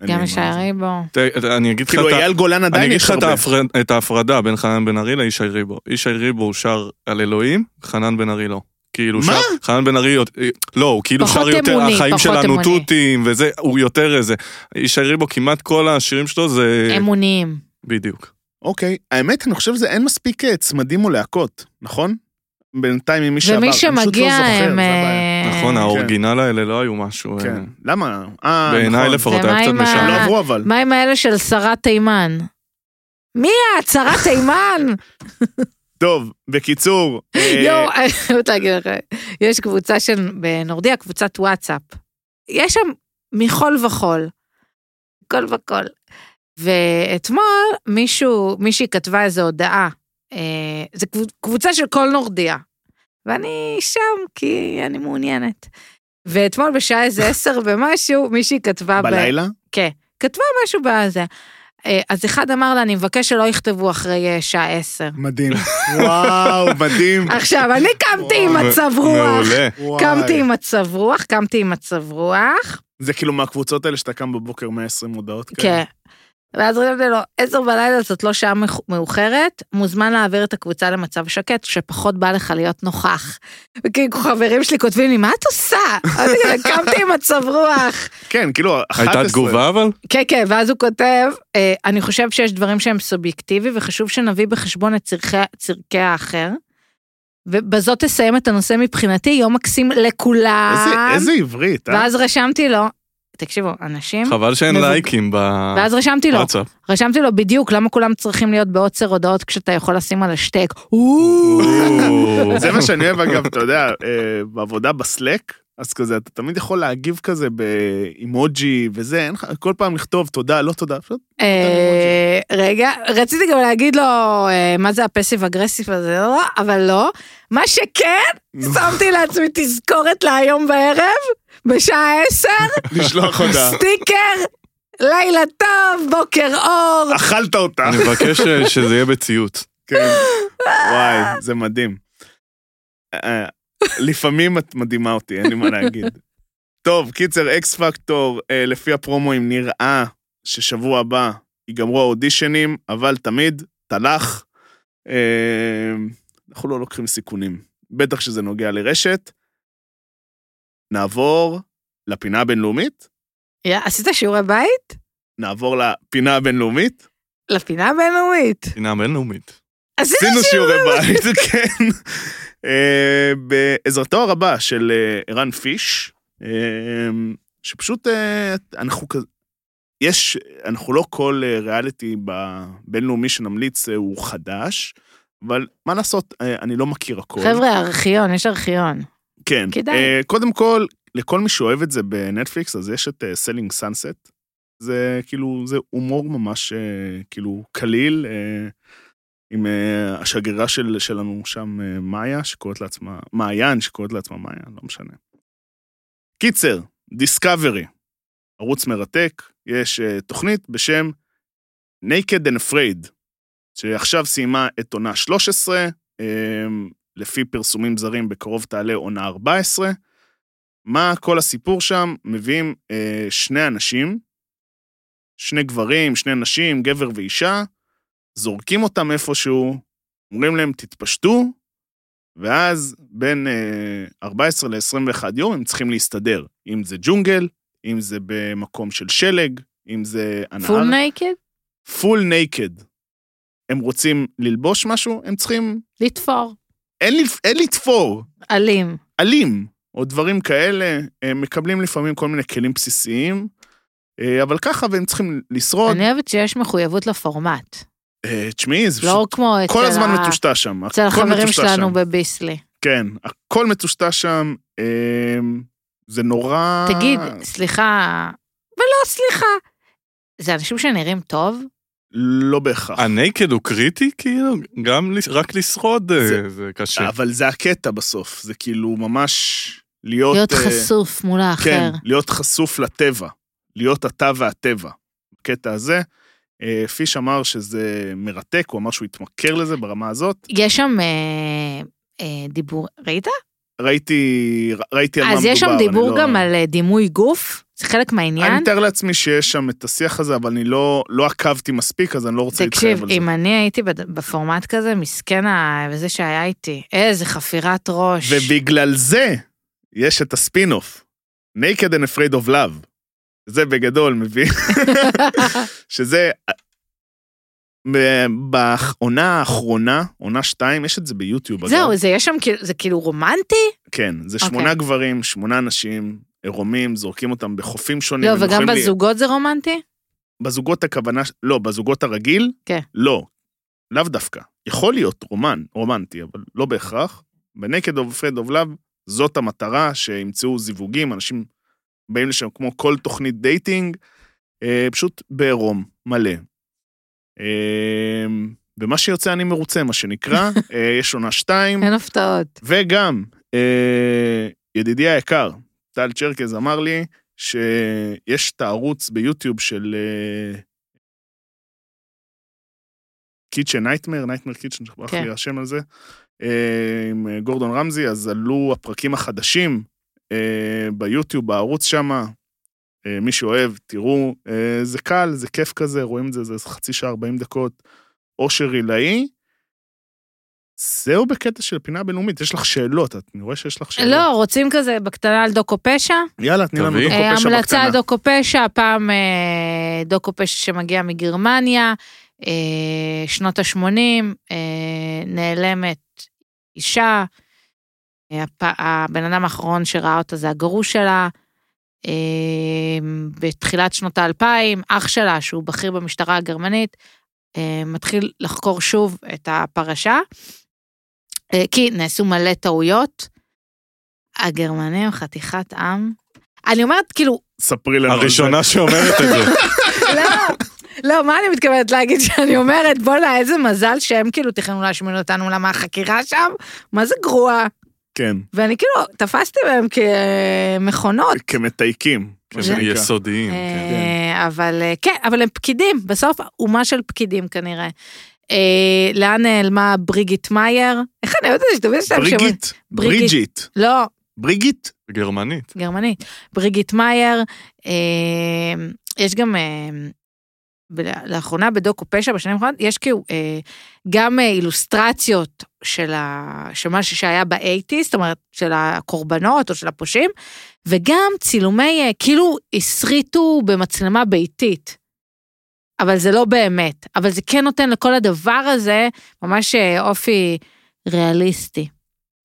S1: אין לי
S2: גם
S1: מה זה.
S2: ישערי בו.
S3: ת- אני אגיד לך
S1: כאילו
S3: את ה-
S1: אייל גולן
S3: אני
S1: עדיין
S3: אגיד
S1: יש
S3: לך את
S1: הרבה.
S3: ההפרד- את ההפרדה בין חנן בן ארי לישי ריבו. ישי ריבו הוא שר על אלוהים, חנן בן ארי לא. כאילו
S1: מה?
S3: שר, חנן בן ארי, יות- לא, הוא כאילו
S2: פחות
S3: שר יותר,
S2: אמוני,
S3: החיים
S2: פחות
S3: שלנו
S2: אמוני.
S3: תותים וזה, הוא יותר איזה. ישי ריבו כמעט כל השירים שלו זה,
S2: אמ- אמוניים.
S3: בדיוק.
S1: אוקיי, האמת, אני חושב שזה אין מספיק אה, צמדים או להקות, נכון? בינתיים עם מי שעבר.
S2: ומי
S1: אני פשוט לא
S2: שמגיע
S1: זוכר, זה
S2: הם...
S1: הבעיה.
S2: אה,
S3: נכון, האורגינל האלה לא היו משהו, אה,
S1: כן, למה? אה,
S3: בעיניי
S1: נכון.
S3: לפחות
S2: ומה
S3: היה קצת
S2: עם ה-
S1: הם לא
S2: אה,
S3: משעמם.
S1: עברו אבל.
S2: מה עם האלה של שרת תימן? מי את? שרת תימן?
S1: טוב, בקיצור, אה,
S2: *laughs* יואו, אני חייבת להגיד לך, יש קבוצה של, בנורדיה, קבוצת וואטסאפ. יש שם מכל וכול. כל וכול. ואתמול מישהו, מישהי כתבה איזו הודעה. אה, זו קבוצ- קבוצה של כל נורדיה. ואני שם כי אני מעוניינת. ואתמול בשעה איזה
S1: *laughs*
S2: עשר ומשהו, מישהי כתבה... אה, ב-
S1: בלילה?
S2: כתבה משהו בזה. אה, אז אחד אמר לה, אני מבקש שלא יכתבו אחרי אה, שעה
S1: *laughs*
S2: עשר.
S1: מדהים. וואו, מדהים.
S2: עכשיו, אני קמתי עם
S3: וואו,
S2: מצב
S1: לא,
S2: רוח.
S3: מעולה.
S1: וואי.
S2: קמתי עם מצב רוח, קמתי עם מצב רוח,
S1: זה כאילו מהקבוצות האלה שאתה קם בבוקר 120 הודעות כאלה.
S2: כן. ואז רציתי לו, עשר בלילה זאת לא שעה מאוח- מאוחרת, מוזמן להעביר את הקבוצה למצב שקט, שפחות בא לך להיות נוכח. וכאילו חברים שלי כותבים לי, מה את עושה? אז אני קמתי עם מצב רוח.
S1: כן, כאילו, 11.
S3: הייתה תגובה אבל?
S2: כן, כן, ואז הוא כותב, אה, אני חושב שיש דברים שהם סובייקטיבי, וחשוב שנביא בחשבון את צרכי, צרכי האחר. ובזאת תסיים את הנושא מבחינתי, יום מקסים לכולם.
S1: איזה- איזה עברית, אה?
S2: ואז רשמתי לו, תקשיבו, אנשים,
S3: חבל שאין
S2: מבוג-
S3: לייקים
S2: כן. ואז לא. רשמתי לו,
S3: בוואטסאפ.
S2: רשמתי לו בדיוק למה כולם צריכים להיות בעוצר הודעות כשאתה יכול לשים על השטק.
S1: זה מה שאני אוהב אגב, אתה יודע, אה, בעבודה בסלק, אז כזה, אתה תמיד יכול להגיב כזה באימוג'י וזה, אין לך, כל פעם לכתוב תודה, לא תודה, פשוט
S2: אה, רגע, רציתי גם להגיד לו אה, מה זה הפסיב אגרסיב הזה, לא, לא, אבל לא. מה שכן,
S1: נו.
S2: שמתי לעצמי תזכורת להיום בערב, בשעה עשר,
S1: לשלוח הודעה.
S2: סטיקר, לילה טוב, בוקר אור.
S1: אכלת אותה.
S3: אני מבקש אה, שזה יהיה בציוץ.
S1: כן. וואי, זה מדהים. אה, לפעמים את מדהימה אותי, אין לי מה להגיד. טוב, קיצר, אקס פקטור, אה, לפי הפרומואים נראה ששבוע הבא ייגמרו האודישנים, אבל תמיד, תלך. אה, אנחנו לא לוקחים סיכונים. בטח שזה נוגע לרשת. נעבור לפינה הבינלאומית,
S2: יא, עשית שיעורי בית?
S1: נעבור לפינה הבינלאומית.
S2: לפינה הבינלאומית.
S3: פינה בינלאומית.
S1: עשינו שיעורי בית, *laughs* כן. אה, בעזרתו הרבה של אה, ערן פיש, אה, שפשוט אה, אנחנו כזה... יש, אנחנו לא כל אה, ריאליטי בבינלאומי שנמליץ אה, הוא חדש, אבל מה לעשות, אה, אני לא מכיר הכל.
S2: חבר'ה, ארכיון, יש ארכיון.
S1: כן.
S2: כדאי.
S1: אה, קודם כל, לכל מי שאוהב את זה בנטפליקס, אז יש את סלינג סאנסט. זה כאילו, זה הומור ממש אה, כאילו קליל, אה, עם אה, השגרירה של, שלנו שם, אה, מאיה, שקוראת לעצמה, מעיין, שקוראת לעצמה מאיה, לא משנה. קיצר, דיסקאברי, ערוץ מרתק, יש אה, תוכנית בשם Naked and Afraid, שעכשיו סיימה את עונה 13, אה, לפי פרסומים זרים, בקרוב תעלה עונה 14. מה כל הסיפור שם? מביאים אה, שני אנשים, שני גברים, שני נשים, גבר ואישה, זורקים אותם איפשהו, אומרים להם, תתפשטו, ואז בין אה, 14 ל-21 יום הם צריכים להסתדר. אם זה ג'ונגל, אם זה במקום של שלג, אם זה הנהר.
S2: פול נייקד?
S1: פול נייקד. הם רוצים ללבוש משהו, הם צריכים...
S2: לתפור.
S1: אין, לפ- אין לתפור.
S2: אלים.
S1: אלים, או דברים כאלה, הם מקבלים לפעמים כל מיני כלים בסיסיים, אה, אבל ככה, והם צריכים לשרוד.
S2: אני אוהבת שיש מחויבות לפורמט.
S1: אה, תשמעי, זה
S2: לא
S1: פשוט
S2: כמו אצל
S1: כל הזמן
S2: ה-
S1: מטושטש שם.
S2: אצל
S1: הכל
S2: החברים
S1: מטושטש
S2: שלנו
S1: שם.
S2: בביסלי.
S1: כן, הכל מטושטש שם, אה, זה נורא...
S2: תגיד, סליחה, ולא סליחה. זה אנשים שנראים טוב?
S1: לא בהכרח.
S3: הנקד הוא קריטי, כאילו? גם לש- רק לשרוד אה,
S1: זה-
S3: זה קשה.
S1: אבל זה הקטע בסוף, זה כאילו ממש להיות...
S2: להיות
S1: אה,
S2: חשוף מול האחר.
S1: כן, להיות חשוף לטבע, להיות אתה והטבע. בקטע הזה, אה, פיש אמר שזה מרתק, הוא אמר שהוא התמכר לזה ברמה הזאת.
S2: יש שם אה, אה, דיבור, ראית?
S1: ראיתי, ראיתי על כן, מה
S2: אז
S1: מדובר.
S2: יש שם
S1: אני
S2: דיבור
S1: לא...
S2: גם על אה, דימוי גוף? זה חלק
S1: אני
S2: מהעניין?
S1: מתאר לעצמי שיש שם את השיח הזה, אבל אני לא, לא עקבתי מספיק, אז אני לא רוצה להתחייב
S2: תקשיב,
S1: על זה.
S2: אם אני הייתי בד- בפורמט כזה, מסכן ה- וזה שהיה איתי, איזה חפירת ראש.
S1: ובגלל זה יש את הספין-אוף, Naked and Afraid of Love. זה בגדול מביא,
S2: *laughs*
S1: שזה... ב- בעונה האחרונה, עונה 2, יש את זה ביוטיוב. אגב.
S2: זהו, זה יש שם, כאילו- זה כאילו רומנטי?
S1: כן, זה
S2: אוקיי.
S1: שמונה גברים, שמונה נשים, עירומים, זורקים אותם בחופים שונים.
S2: לא,
S1: הם
S2: וגם
S1: יכולים לי-
S2: בזוגות זה רומנטי?
S1: בזוגות הכוונה, ש- לא, בזוגות הרגיל,
S2: כן.
S1: לא, לאו דווקא. יכול להיות רומן, רומנטי, אבל לא בהכרח. בנקד אוף פרד אוף לאב, זאת המטרה, שימצאו זיווגים, אנשים באים לשם כמו כל תוכנית דייטינג, אה, פשוט בעירום מלא. אה, ומה שיוצא אני מרוצה, מה שנקרא, אה, יש עונה שתיים,
S2: אין הפתעות.
S1: וגם, אה, ידידי היקר, טל צ'רקז אמר לי שיש את הערוץ ביוטיוב של אה, קיצ'ן נייטמר, נייטמר קיצ'ן, שכח
S2: כן.
S1: לי השם על זה, אה, עם אה, גורדון רמזי, אז עלו הפרקים החדשים אה, ביוטיוב, בערוץ שמה. אה, מי שאוהב, תראו, אה, זה קל, זה כיף כזה, רואים את זה, זה חצי שעה, 40 דקות. אושר עילאי. זהו בקטע של פינה בינלאומית, יש לך שאלות, את- אני רואה שיש לך שאלות.
S2: לא, רוצים כזה בקטנה על דוקו פשע?
S1: יאללה, תני לנו
S3: תביאי.
S1: דוקו
S2: אה,
S1: פשע
S2: המלצה
S1: בקטנה.
S2: על דוקו פשע, הפעם אה, דוקו פשע שמגיע מגרמניה, אה, שנות ה-80, נעלמת אישה, אה, הפ- הבן אדם האחרון שראה אותה זה הגרוש שלה. אה, בתחילת שנות האלפיים, אח שלה, שהוא בכיר במשטרה הגרמנית, אה, מתחיל לחקור שוב את הפרשה, אה, כי נעשו מלא טעויות. הגרמנים חתיכת עם. אני אומרת, כאילו,
S1: ספרי לנו. על זה.
S3: הראשונה שאומרת את
S1: *laughs*
S3: זה.
S2: לא, לא, מה אני מתכוונת להגיד שאני אומרת, בואנה, איזה מזל שהם כאילו תכננו להשמיד אותנו, למה החקירה שם, מה זה גרוע.
S1: כן,
S2: ואני כאילו, תפסתי בהם כמכונות.
S1: כמתייקים. מה
S3: כן,
S1: שנקרא.
S3: יסודיים, כן.
S2: אה, אבל אה, כן, אבל הם פקידים, בסוף אומה של פקידים כנראה. אה, לאן נעלמה בריגיט מאייר? איך אני יודעת שתמיד יש להם שמות?
S1: בריגיט,
S2: בריגיט.
S1: בריג'יט.
S2: לא,
S1: בריגיט?
S3: גרמנית.
S2: גרמנית. בריגיט מאייר, אה, יש גם, אה, ב- לאחרונה בדוקו פשע בשנים האחרונות, יש כאילו אה, גם אה, אילוסטרציות של ה- של מה שהיה באייטיז, זאת אומרת, של הקורבנות או של הפושעים, וגם צילומי, אה, כאילו הסריטו במצלמה ביתית. אבל זה לא באמת. אבל זה כן נותן לכל הדבר הזה ממש אה, אופי ריאליסטי.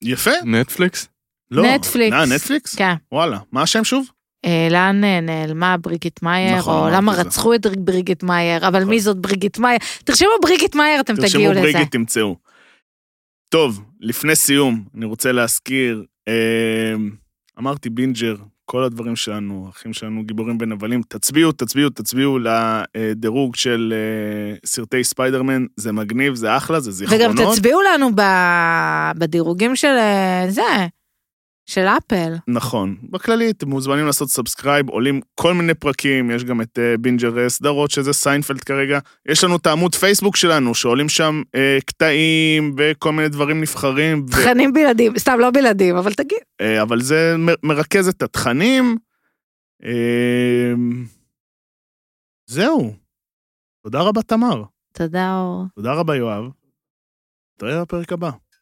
S1: יפה.
S3: נטפליקס?
S1: לא.
S2: נטפליקס.
S1: אה, נטפליקס?
S2: כן.
S1: וואלה. מה השם שוב?
S2: אה, לאן אה, נעלמה בריגיט מאייר,
S1: נכון,
S2: או
S1: אמרתי
S2: למה
S1: את זה.
S2: רצחו את בריגיט מאייר, אבל מי
S1: נכון.
S2: זאת בריגיט מאייר? תרשמו בריגיט מאייר, אתם
S1: תרשמו
S2: תגיעו לזה.
S1: בריגיט, תמצאו. טוב, לפני סיום, אני רוצה להזכיר, אה, אמרתי בינג'ר, כל הדברים שלנו, אחים שלנו, גיבורים ונבלים, תצביעו, תצביעו, תצביעו לדירוג של אה, סרטי ספיידרמן, זה מגניב, זה אחלה, זה
S2: וגם
S1: זיכרונות.
S2: תצביעו לנו ב- בדירוגים של אה, זה, של אפל.
S1: נכון. בכללי, אתם מוזמנים לעשות סאבסקרייב, עולים כל מיני פרקים, יש גם את אה, בינג'ר אה, סדרות, שזה סיינפלד כרגע. יש לנו את העמוד פייסבוק שלנו, שעולים שם אה, קטעים וכל מיני דברים נבחרים. ו-
S2: תכנים בלעדים, סתם לא בלעדים, אבל תגיד.
S1: אה, אבל זה מ- מרכז את התכנים. אה, זהו. תודה רבה, תמר.
S2: תודה אור.
S1: תודה רבה, יואב. נתראה בפרק הבא.